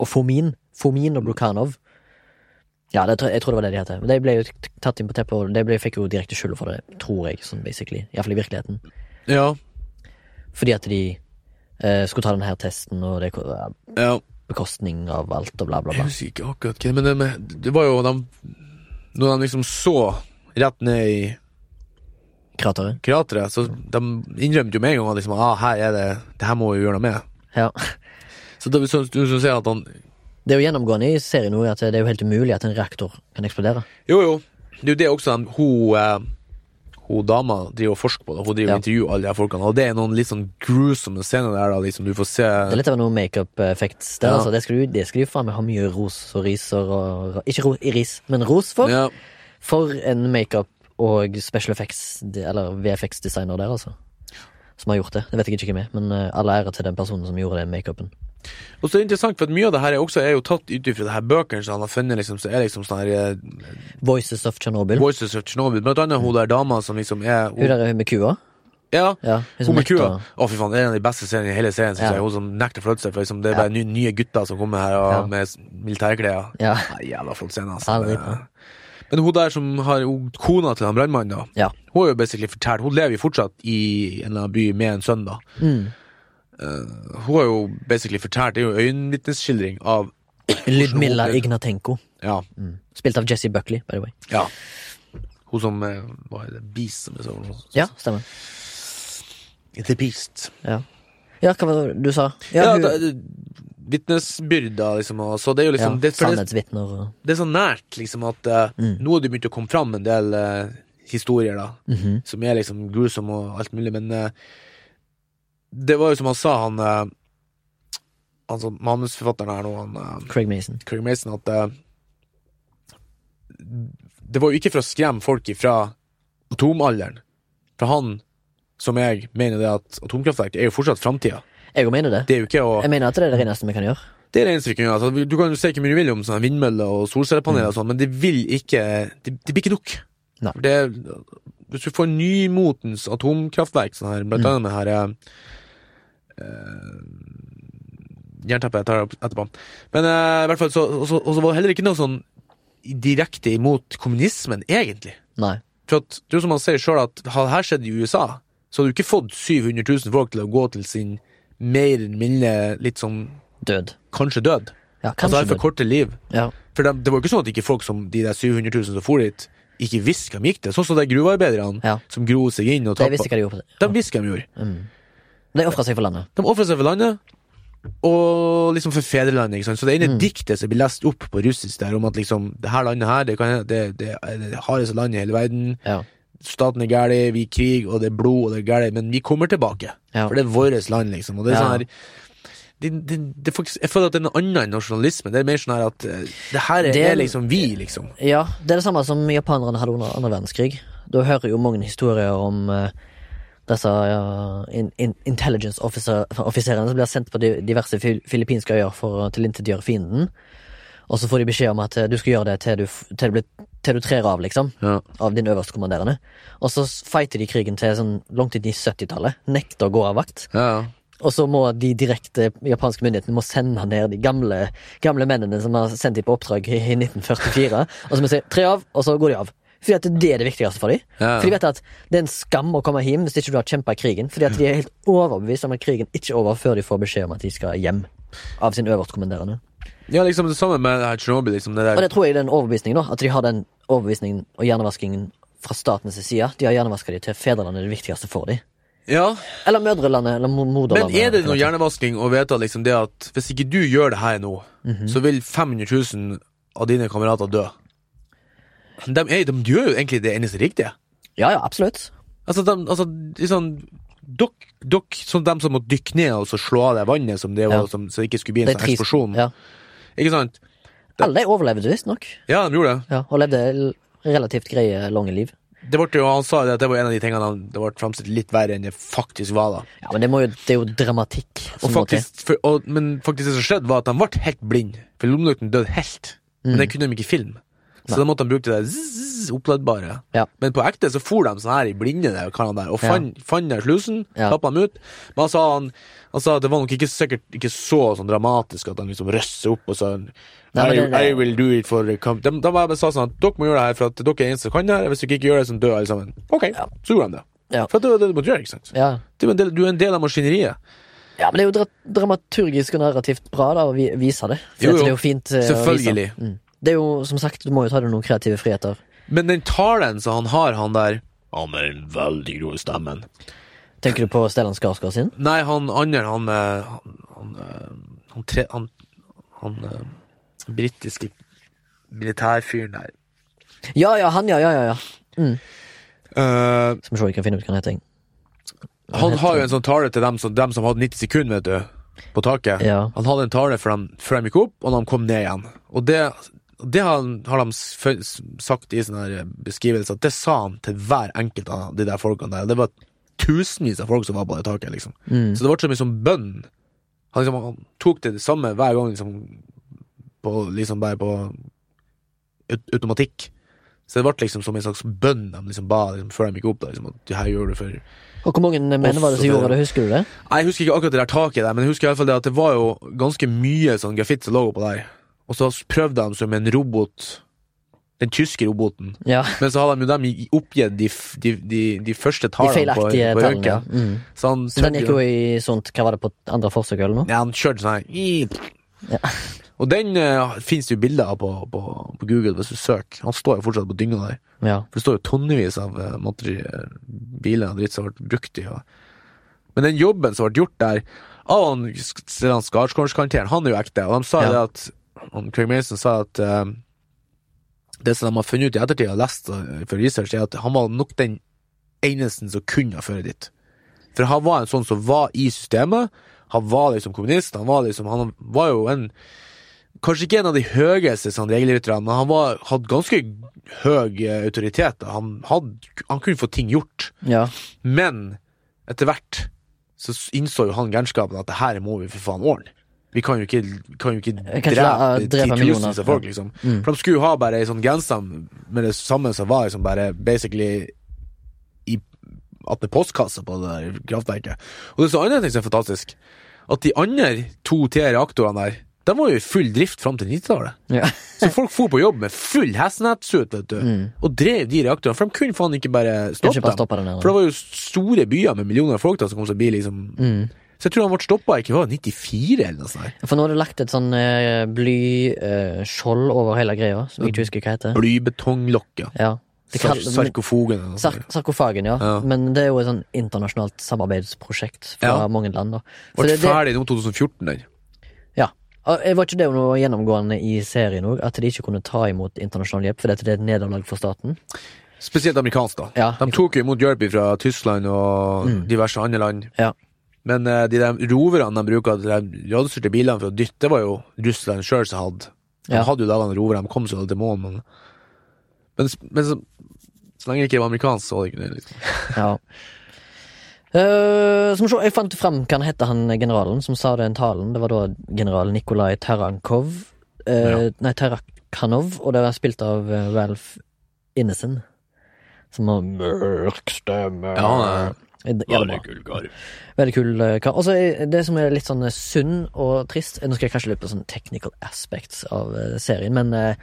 Speaker 2: Og Fomin. Fomin og Brukhanov. Ja, det, tror- jeg tror det var det de het. Men de ble jo t- tatt inn på teppet, og de ble, fikk jo direkte skylda for det, tror jeg, sånn basically. Iallfall i virkeligheten.
Speaker 3: ja.
Speaker 2: Fordi at de eh, skulle ta denne her testen, og det ko- ja,
Speaker 3: Ja.
Speaker 2: bekostning av alt, og bla, bla,
Speaker 3: Jeg
Speaker 2: bla.
Speaker 3: husker ikke akkurat hva, men det, med, det var jo de Når de liksom så rett ned i
Speaker 2: Krateret.
Speaker 3: krateret, så de innrømte jo med en gang at liksom, ah, her er det Det her må vi gjøre noe med.
Speaker 2: Ja. <laughs>
Speaker 3: Så det, så, du som sier at han
Speaker 2: Det er jo gjennomgående i serien nå at det er jo helt umulig at en reaktor kan eksplodere.
Speaker 3: Jo, jo. Det er jo det også han- hun eh, hun dama driver og forsker på det. Hun driver
Speaker 2: Ja.
Speaker 3: og intervjuer alle de her folkene. Og det er noen litt sånn grusomme scener der da, liksom du får se
Speaker 2: Det er litt av noen makeup effects der,
Speaker 3: Ja.
Speaker 2: altså. Det skal du, det skal du faen meg ha mye ros og riser og Ikke ro, ris, men ros for.
Speaker 3: ja.
Speaker 2: For en makeup og special effects, de- eller VFX-designer der, altså. Som har gjort det. Det vet jeg ikke hvem er, men eh, all ære til den personen som gjorde den makeupen.
Speaker 3: Og så er det interessant, for at mye av det her er, også, er jo tatt ut ifra det her bøkene som han har funnet. liksom, så er liksom sånn her eh,
Speaker 2: Voices of Chernobyl.
Speaker 3: Voices of Chernobyl. Blant annet hun der dama som liksom er
Speaker 2: Hun
Speaker 3: hun,
Speaker 2: der med kua.
Speaker 3: Ja.
Speaker 2: Ja,
Speaker 3: Hun med kua.
Speaker 2: nekter-
Speaker 3: Å, fy faen, det er en av de beste seriene i hele serien. synes
Speaker 2: Ja.
Speaker 3: jeg. Hun som nekter å flytte seg. for liksom, Det er bare nye, nye gutter som kommer her og,
Speaker 2: Ja.
Speaker 3: med s- militærklær.
Speaker 2: Ja.
Speaker 3: Nei, Jævla flott scene,
Speaker 2: Ja,
Speaker 3: altså.
Speaker 2: det er bra.
Speaker 3: Det- Men hun der som har hun, kona til han brannmannen, da.
Speaker 2: Ja.
Speaker 3: Hun er jo basically fortalt Hun lever jo fortsatt i en eller annen by med en sønn, da.
Speaker 2: Mm.
Speaker 3: Eh, hun har jo basically fortalt Det er jo øyenvitnesskildring av
Speaker 2: Ludmilla
Speaker 3: Hvordan hun-
Speaker 2: Ignatenko.
Speaker 3: Ja.
Speaker 2: Spilt av Jesse Buckley, by the way.
Speaker 3: ja. Hun som eh, var The Beast, som jeg så.
Speaker 2: Ja, stemmer.
Speaker 3: The Beast.
Speaker 2: Ja, ja hva var det du sa?
Speaker 3: Ja,
Speaker 2: hun-
Speaker 3: da- Vitnesbyrder, liksom. Og, så det er jo liksom
Speaker 2: ja, Mm.
Speaker 3: det, for det,
Speaker 2: Sannhetsvitner og
Speaker 3: det er så nært, liksom, at eh, nå har det begynt å komme fram en del eh, historier, da, som er liksom grusomme og alt mulig, men eh, det var jo som han sa, han eh, han sånn manusforfatteren her nå, han eh,
Speaker 2: Craig Mason.
Speaker 3: Craig Mason, at eh, det var jo ikke for å skremme folk ifra atomalderen, for han som jeg mener det at atomkraftverk er jo fortsatt framtida.
Speaker 2: Jeg òg mener det.
Speaker 3: Det er jo ikke å
Speaker 2: Jeg mener at det er det reneste vi kan gjøre.
Speaker 3: det er det eneste vi kan gjøre. Altså, du kan jo si hvor mye du vil om sånne vindmøller og solcellepaneler, og sånn, men det vil ikke Det, det blir ikke nok.
Speaker 2: Nei.
Speaker 3: For Det, hvis du får nymotens atomkraftverk, sånn her, blant annet med her eh, eh, Jernteppet jeg tar det opp etterpå. Men eh, i hvert fall så og så og så var det heller ikke noe sånn direkte imot kommunismen, egentlig.
Speaker 2: Nei.
Speaker 3: For at, det er jo som han sier sjøl, at hadde her skjedd i USA, så hadde du ikke fått 700 000 folk til å gå til sin mer eller mindre litt sånn
Speaker 2: Død.
Speaker 3: kanskje død.
Speaker 2: Ja,
Speaker 3: Altså
Speaker 2: kanskje
Speaker 3: her
Speaker 2: død.
Speaker 3: forkorte liv.
Speaker 2: Ja.
Speaker 3: For dem- det var jo ikke sånn at ikke folk som de der 700 000 som for dit, ikke visste hva de gikk til. Sånn som de gruvearbeiderne
Speaker 2: Ja.
Speaker 3: som gro seg inn og
Speaker 2: De
Speaker 3: tappa.
Speaker 2: visste hva de gjorde.
Speaker 3: De visste hva de gjorde.
Speaker 2: De ofra seg for landet.
Speaker 3: De ofra seg for landet, og liksom for fedrelandet. ikke sant? Så det ene diktet som blir lest opp på russisk der om at liksom, det her landet her, det, kan, det, det er det hardeste landet i hele verden.
Speaker 2: Ja.
Speaker 3: Staten er gæli, vi er i krig, og det er blod, og det er gæli, men vi kommer tilbake.
Speaker 2: Ja.
Speaker 3: For det er vårt land, liksom. Og det er
Speaker 2: Ja.
Speaker 3: sånn her det, det, det er faktisk, Jeg føler at det er noe annet enn nasjonalisme. Det er mer sånn her at eh, det her er,
Speaker 2: Det er-
Speaker 3: er liksom vi, liksom.
Speaker 2: Ja, det er det samme som japanerne hadde under andre verdenskrig. Da hører jo mange historier om eh, disse ja, in, in, intelligence officer- offiserene som blir sendt på de, diverse fil, filippinske øyer for å tilintetgjøre fienden. Og så får de beskjed om at eh, du skal gjøre det til du, f- til du, blir, til du trer av, liksom.
Speaker 3: Ja.
Speaker 2: Av din øverstkommanderende. Og så s- fighter de krigen til sånn langt inn i 70-tallet. Nekter å gå av vakt. Og så må de direkte japanske myndighetene må sende ned de gamle, gamle mennene som har sendt dem på oppdrag i 1944. Og så må de si tre av, og så går de av. Fordi at det er det viktigste for dem.
Speaker 3: Ja.
Speaker 2: For de vet at det er en skam å komme hjem hvis ikke du har kjempa i krigen. Fordi at de er helt overbevist om at krigen ikke er over før de får beskjed om at de skal hjem. Av sin øverstkommanderende.
Speaker 3: Ja, liksom det samme med det her Tsjernobyl. Liksom det
Speaker 2: Og
Speaker 3: der.
Speaker 2: det tror jeg er den overbevisningen, da. At de har den overbevisningen og hjernevaskingen fra statens side. De har hjernevaska de til fedrelandet er det viktigste for dem.
Speaker 3: Ja,
Speaker 2: Eller mødrelandet, eller mo-
Speaker 3: Men
Speaker 2: moderlandet.
Speaker 3: er det noe hjernevasking å vite liksom det at hvis ikke du gjør det her nå, så vil 500 000 av dine kamerater dø? De, er, de gjør jo egentlig det eneste riktige.
Speaker 2: Ja, ja, absolutt.
Speaker 3: Altså, de, altså de sånn Dok, dok, sånn dem som må dykke ned og så slå av det vannet som det var,
Speaker 2: Ja.
Speaker 3: som, så det ikke skulle bli en
Speaker 2: De
Speaker 3: sånn
Speaker 2: tre-
Speaker 3: eksplosjon.
Speaker 2: Ja.
Speaker 3: Ikke sant?
Speaker 2: Alle de overlevde visstnok,
Speaker 3: Ja, de gjorde det.
Speaker 2: ja, og levde l- relativt greie, lange liv.
Speaker 3: Det ble jo, Han sa det at det var en av de tingene han, det ble fremstilt litt verre enn det faktisk var. da
Speaker 2: Ja, men det, må jo, det er jo dramatikk.
Speaker 3: og
Speaker 2: som må til.
Speaker 3: faktisk, for, og, Men faktisk det som skjedde, var at de ble helt blind For lommelykten døde helt.
Speaker 2: Mm.
Speaker 3: Men det kunne de ikke filme. Så da måtte de bruke det der zzz, oppladbare.
Speaker 2: Ja.
Speaker 3: Men på ekte så for de sånn her i blinde der, hva han der, og fant fant der slusen,
Speaker 2: Ja.
Speaker 3: tappa dem ut. Men han sa, han, han sa at det var nok ikke sikkert ikke så sånn dramatisk at han liksom røsser opp og sa
Speaker 2: Nei,
Speaker 3: I,
Speaker 2: men det-
Speaker 3: I will do it for the com-" De, de bare sa sånn at dere må gjøre det her for at dere er eneste som kan det her. Hvis dere ikke gjør det, så dør alle sammen. Ok, så gjorde de det.
Speaker 2: Ja.
Speaker 3: For at det var det du måtte gjøre, ikke sant?
Speaker 2: Ja.
Speaker 3: Du er en del, du er en del av maskineriet.
Speaker 2: ja, men det er jo dra dramaturgisk og narrativt bra da, å vi vise det. For
Speaker 3: Jo,
Speaker 2: at
Speaker 3: jo.
Speaker 2: Det er jo fint eh, å vise.
Speaker 3: Selvfølgelig.
Speaker 2: Mm. Det er jo, som sagt, du må jo ta deg noen kreative friheter.
Speaker 3: Men den talen som han har, han der Han med den veldig grå stemmen.
Speaker 2: Tenker du på Stellan Skarsgård sin?
Speaker 3: Nei, han andre, han eh, Han, han, eh, han, tre, han, han eh, britiske militærfyren der.
Speaker 2: Ja, ja, han, ja, ja, ja. ja.
Speaker 3: Eh,
Speaker 2: Skal vi se, jeg kan finne ut hva han heter. jeg.
Speaker 3: han har jo en sånn tale til dem som, dem som hadde 90 sekunder, vet du, på taket.
Speaker 2: Ja.
Speaker 3: Han hadde en tale før de, før de gikk opp, og de kom ned igjen. Og det, det har, han- har de s- fø- s- sagt i sånne her eh, beskrivelser, at det sa han til hver enkelt av de der folkene der. Det var tusenvis av folk som var på det taket, liksom.
Speaker 2: Mm.
Speaker 3: Så det ble så mye som bønn. Han, liksom, han tok det samme hver gang, liksom, på, liksom bare på aut- automatikk. Så det ble liksom som en slags bønn de liksom ba liksom, før de gikk opp. Da, liksom, at det her gjør du for
Speaker 2: Og hvor mange menn var det som
Speaker 3: Også-
Speaker 2: gjorde det, husker du det?
Speaker 3: Nei, Jeg husker ikke akkurat det der taket der, men jeg husker i hvert fall det at det var jo ganske mye sånn grafitt som lå på der. Og så prøvde de som en robot, den tyske roboten.
Speaker 2: Ja,
Speaker 3: Men så hadde de jo dem i- oppgitt de, f- de, de, de første
Speaker 2: de
Speaker 3: tallene på,
Speaker 2: feilaktige
Speaker 3: på
Speaker 2: tallene.
Speaker 3: røntgen.
Speaker 2: Mm.
Speaker 3: Så han
Speaker 2: Så den
Speaker 3: trodde
Speaker 2: gikk jo i sånt, hva var det på andre forsøk eller noe?
Speaker 3: Ja, han kjørte sånn her. i-
Speaker 2: Ja.
Speaker 3: Og den uh, finnes det jo bilder av på, på, på Google hvis du søker. Han står jo fortsatt på dynga der.
Speaker 2: Ja.
Speaker 3: For det står jo tonnevis av eh, materi- eh, biler og dritt som ble brukt i. Og... Men den jobben som ble gjort der av han Sk- Stellan Skarsgårdskarakteren, han er jo ekte. Og de sa
Speaker 2: Ja.
Speaker 3: det at han Craig Mason sa at eh, det som de har funnet ut i ettertid og lest eh, for research, er at han var nok den eneste som kunne ha ført dit. For han var en sånn som var i systemet. Han var liksom kommunist. Han var liksom Han var jo en Kanskje ikke en av de høyeste sånn, regelrytterne, men han var, hadde ganske høy eh, autoritet. da. Han, hadde, han kunne få ting gjort.
Speaker 2: ja.
Speaker 3: Men etter hvert så s- innså jo han gærenskapen at det her må vi for faen ordne. Vi kan jo ikke, kan jo ikke
Speaker 2: ikke la-
Speaker 3: drepe
Speaker 2: drepe millioner,
Speaker 3: titusenvis av folk,
Speaker 2: ja.
Speaker 3: liksom. For de skulle jo ha bare ei sånn genser med det samme som var liksom bare basically i at det er postkassa på det der kraftverket. Og det er så andre ting som er fantastisk, at de andre to T-reaktorene der, de var jo i full drift fram til 90-tallet.
Speaker 2: ja.
Speaker 3: Så folk for på jobb med full hestnettsuit, vet du, og drev de reaktorene, for de Mm. kunne faen ikke bare stoppe
Speaker 2: Kanskje bare
Speaker 3: dem.
Speaker 2: stoppe den her.
Speaker 3: For det var jo store byer med millioner av folk da, som kom til å bli liksom
Speaker 2: Mm.
Speaker 3: Så jeg tror han ble stoppa i hva var det, 94 eller noe sånt. her.
Speaker 2: For nå har du lagt et sånn eh, blyskjold over hele greia, som jeg ikke husker hva heter.
Speaker 3: Blybetonglokket.
Speaker 2: Ja. Det
Speaker 3: Sar
Speaker 2: kall-
Speaker 3: sarkofogen eller noe
Speaker 2: Sar
Speaker 3: sånt.
Speaker 2: sarkofagen, ja.
Speaker 3: Ja.
Speaker 2: Men det er jo et sånn internasjonalt samarbeidsprosjekt fra
Speaker 3: Ja.
Speaker 2: mange land. da. Så
Speaker 3: Ble
Speaker 2: det, det,
Speaker 3: ferdig nå 2014, den.
Speaker 2: ja. Og jeg Var ikke det noe gjennomgående i serien òg, at de ikke kunne ta imot internasjonal hjelp fordi at det er et nederlag for staten?
Speaker 3: Spesielt amerikansk, da.
Speaker 2: Ja. Mm.
Speaker 3: De tok jo imot hjelp fra Tyskland og diverse andre land.
Speaker 2: Ja.
Speaker 3: Men eh, de der roverne de bruker, de der radiostyrte bilene for å dytte, det var jo Russland sjøl som hadde. De
Speaker 2: Ja.
Speaker 3: hadde jo da en rover, de kom seg jo til månen, men Men, men så, så lenge det ikke var amerikansk, så var det ikke det. Liksom.
Speaker 2: ja. Eh, som så, jeg fant fram hva han het, han generalen som sa den talen. Det var da general Nikolai Tarankov. eh, Nei, Tarakhanov, og det var spilt av eh, Ralph Innocent. Som har mørk stemme.
Speaker 3: Ja, han er-
Speaker 2: Det- ja, det er bra. Veldig kul eh, kar. Og så er det som er litt sånn eh, sunn og trist Nå skal jeg kanskje litt på sånn technical aspects av eh, serien, men eh,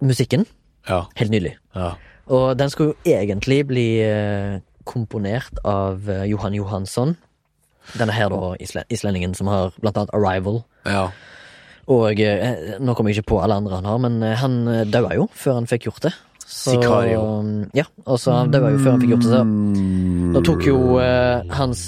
Speaker 2: musikken,
Speaker 3: Ja.
Speaker 2: helt nydelig.
Speaker 3: ja.
Speaker 2: Og den skulle jo egentlig bli eh, komponert av eh, Johan Johansson. Denne her da, isle islendingen som har blant annet Arrival.
Speaker 3: Ja.
Speaker 2: Og eh, nå kommer jeg ikke på alle andre han har, men eh, han eh, daua jo før han fikk gjort det. Så,
Speaker 3: Sicario.
Speaker 2: Ja, og så han daua jo før han fikk gjort det. Så da tok jo eh, hans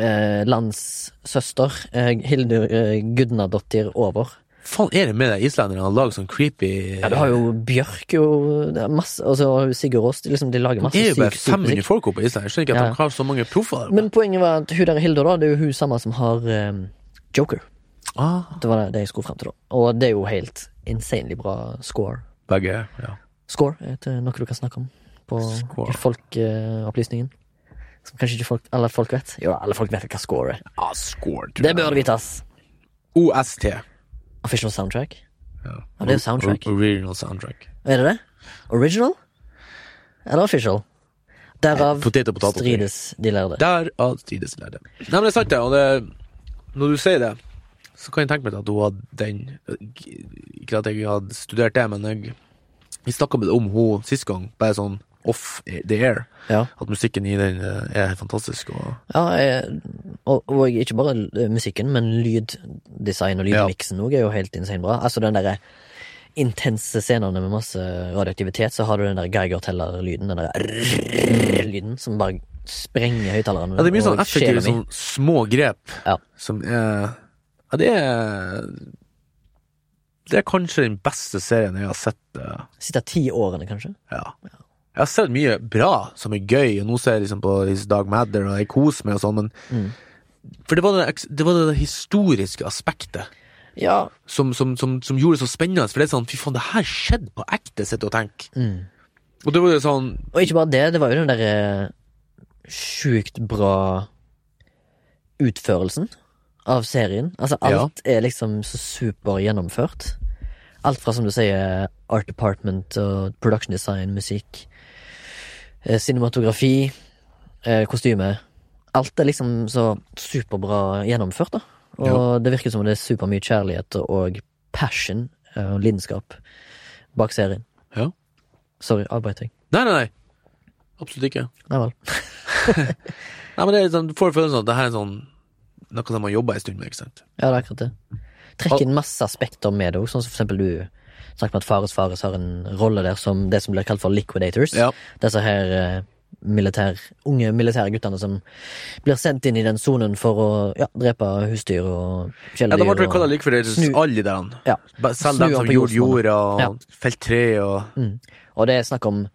Speaker 2: eh, landssøster, eh, Hildur eh, Gudnadottir, over.
Speaker 3: faen er det med de islenderne og lager sånn creepy
Speaker 2: Ja, du har jo Eh, Bjørk og det er masse, og så har du Sigurd Aas. liksom, de lager masse
Speaker 3: Det er jo bare
Speaker 2: syk, syk
Speaker 3: 500
Speaker 2: musikk.
Speaker 3: folk oppe på Island. Jeg skjønner ikke at
Speaker 2: Ja.
Speaker 3: de har så mange proffer. der.
Speaker 2: Men poenget var at hun der Hilda, da, det er jo hun samme som har eh, Joker.
Speaker 3: ah,
Speaker 2: Det var det jeg skulle frem til, da. Og det er jo helt insanely bra score.
Speaker 3: begge, ja.
Speaker 2: Score er et, eh, noe du kan snakke om på
Speaker 3: Score.
Speaker 2: folkeopplysningen. som kanskje ikke folk, alle folk vet. Jo, alle folk vet hva score er.
Speaker 3: Ah, scored.
Speaker 2: Det bør du vite, ass.
Speaker 3: OST.
Speaker 2: Official soundtrack. Ja, det er jo soundtrack.
Speaker 3: O- Original soundtrack.
Speaker 2: Er det det? Original? Eller official? Derav
Speaker 3: Potet og potet.
Speaker 2: strides de lærde.
Speaker 3: Der av Strides lærde. Nei, men det er sant, det. Og det, når du sier det, så kan jeg tenke meg at hun hadde den Ikke at jeg hadde studert det, men jeg, vi snakka med det om hun sist gang, bare sånn off the air.
Speaker 2: Ja.
Speaker 3: At musikken i den eh, er helt fantastisk. Og
Speaker 2: Ja, eh, og, og ikke bare eh, musikken, men lyddesign og
Speaker 3: Ja.
Speaker 2: lydmiksen òg er jo helt insane bra. Altså den derre intense scenene med masse radioaktivitet, så har du den der Geiger-teller-lyden, den
Speaker 3: Mm.
Speaker 2: der lyden som bare sprenger høyttalerne.
Speaker 3: Ja, det er mye sånn
Speaker 2: og sjela
Speaker 3: effektive
Speaker 2: mi.
Speaker 3: sånn små grep
Speaker 2: Ja.
Speaker 3: som er Ja, det er Det er kanskje den beste serien jeg har sett. eh,
Speaker 2: Siste ti årene, kanskje.
Speaker 3: Ja. Jeg har sett mye bra som er gøy, og nå ser jeg liksom på His Dag Matter og jeg koser meg og sånn, men
Speaker 2: Mm.
Speaker 3: For det var det, eks- det var det historiske aspektet
Speaker 2: Ja,
Speaker 3: som, som, som, som gjorde det så spennende. For det er sånn, fy faen, det her skjedde på ekte, sitter jeg og tenker.
Speaker 2: Mm.
Speaker 3: Og det var jo sånn
Speaker 2: Og ikke bare det, det var jo den derre sjukt bra utførelsen av serien. Altså, alt er liksom så super gjennomført. Alt fra, som du sier, art department og production design, musikk, eh, cinematografi, eh, kostyme. Alt er liksom så superbra gjennomført, da. Og det virker som om det er supermye kjærlighet og passion eh, og lidenskap bak serien.
Speaker 3: Ja.
Speaker 2: Sorry, avbrøt jeg.
Speaker 3: Nei, nei, nei. Absolutt ikke.
Speaker 2: Nei vel.
Speaker 3: Nei, men det er litt sånn, Du får følelsen av at det her er sånn noe som man jobba en stund med, ikke sant.
Speaker 2: Ja, det er akkurat det. Trekk inn masse aspekter med det òg, sånn som for eksempel du snakket om at Fares Fares har en rolle der som det som blir kalt for liquidators.
Speaker 3: Ja.
Speaker 2: Disse her eh, militær, unge militære guttene som blir sendt inn i den sonen for å ja, drepe husdyr og
Speaker 3: Ja,
Speaker 2: kjæledyr.
Speaker 3: de ble kalla
Speaker 2: og-
Speaker 3: likvidators,
Speaker 2: Snu-
Speaker 3: alle der.
Speaker 2: Ja.
Speaker 3: Ba- Selv
Speaker 2: Snu
Speaker 3: dem
Speaker 2: han
Speaker 3: som
Speaker 2: på
Speaker 3: gjorde
Speaker 2: jordsmonnet.
Speaker 3: jorda og
Speaker 2: Ja.
Speaker 3: felt tre og
Speaker 2: Mm. Og det er snakk om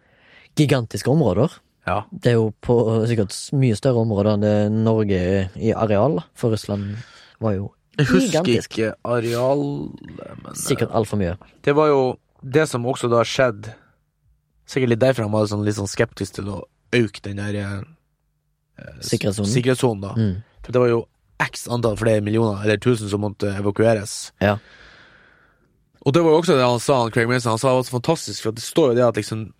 Speaker 2: gigantiske områder.
Speaker 3: Ja.
Speaker 2: Det er jo på eh, sikkert mye større områder enn det Norge er i areal, da. for Russland var jo
Speaker 3: Jeg husker
Speaker 2: gigantisk.
Speaker 3: ikke arealet, men
Speaker 2: Sikkert altfor mye.
Speaker 3: det var jo det som også da skjedde Sikkert litt derfor han var sånn, litt sånn skeptisk til å øke den der eh, s-
Speaker 2: Sikkerhetssonen.
Speaker 3: sikkerhetssonen, da.
Speaker 2: Mm.
Speaker 3: For det var jo x antall flere millioner, eller tusen, som måtte evakueres.
Speaker 2: Ja.
Speaker 3: Og det var jo også det han sa, han Craig Mason. Han sa det var så fantastisk, for det står jo det at liksom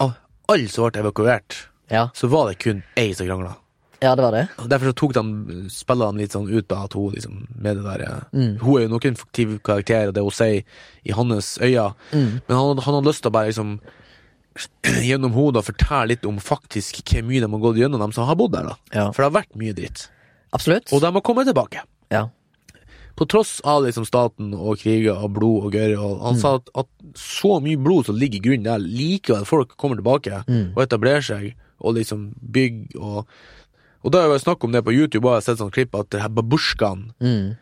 Speaker 3: av Alle som ble evakuert,
Speaker 2: Ja.
Speaker 3: så var det kun ei som krangla.
Speaker 2: ja, det var det.
Speaker 3: Og Derfor så tok de spillerne litt sånn ut da, at hun liksom med det der eh, Hun er jo nok en fiktiv karakter, og det hun sier i hans øyne, men han, hadde- han hadde lyst til å bare liksom <clears throat> gjennom hodet fortelle litt om faktisk hvor mye de har gått gjennom, dem som har bodd der, da.
Speaker 2: Ja.
Speaker 3: For det har vært mye dritt.
Speaker 2: Absolutt.
Speaker 3: Og de har kommet tilbake.
Speaker 2: Ja.
Speaker 3: På tross av liksom staten og kriger og blod og gørr. og
Speaker 2: Mm.
Speaker 3: Han sa at, at så mye blod som ligger i grunnen der, likevel folk kommer tilbake
Speaker 2: Mm.
Speaker 3: og etablerer seg og liksom bygger og Og da har jeg vært snakk om det på YouTube, og jeg har sett sånn klipp at det her babusjkaen
Speaker 2: Mm.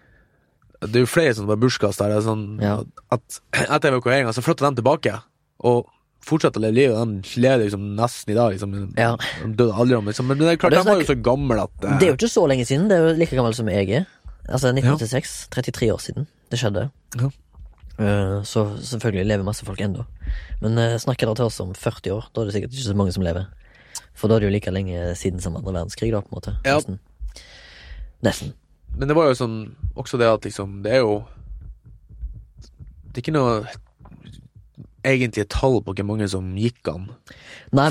Speaker 3: Det er jo flere sånne babusjkas der. det er Sånn,
Speaker 2: Ja.
Speaker 3: at, etter evakueringa så flytter de tilbake og fortsetter å leve livet. De lever liksom nesten i dag. Liksom,
Speaker 2: Ja.
Speaker 3: De døde aldri om, liksom. Men det er
Speaker 2: Og
Speaker 3: klart,
Speaker 2: det er
Speaker 3: de var jo så gamle at eh,
Speaker 2: Det er jo ikke så lenge siden. Det er jo like gammel som jeg er. Altså 1986. 33 år siden det skjedde.
Speaker 3: Ja.
Speaker 2: Eh, Så selvfølgelig lever masse folk ennå. Men eh, snakker dere til oss om 40 år, da er det sikkert ikke så mange som lever. For da er det jo like lenge siden som andre verdenskrig, da, på en måte.
Speaker 3: Ja.
Speaker 2: Nesten. Nesten.
Speaker 3: Men det var jo sånn Også det at liksom Det er jo Det er ikke noe Egentlige tall på hvor mange som gikk an
Speaker 2: Nei,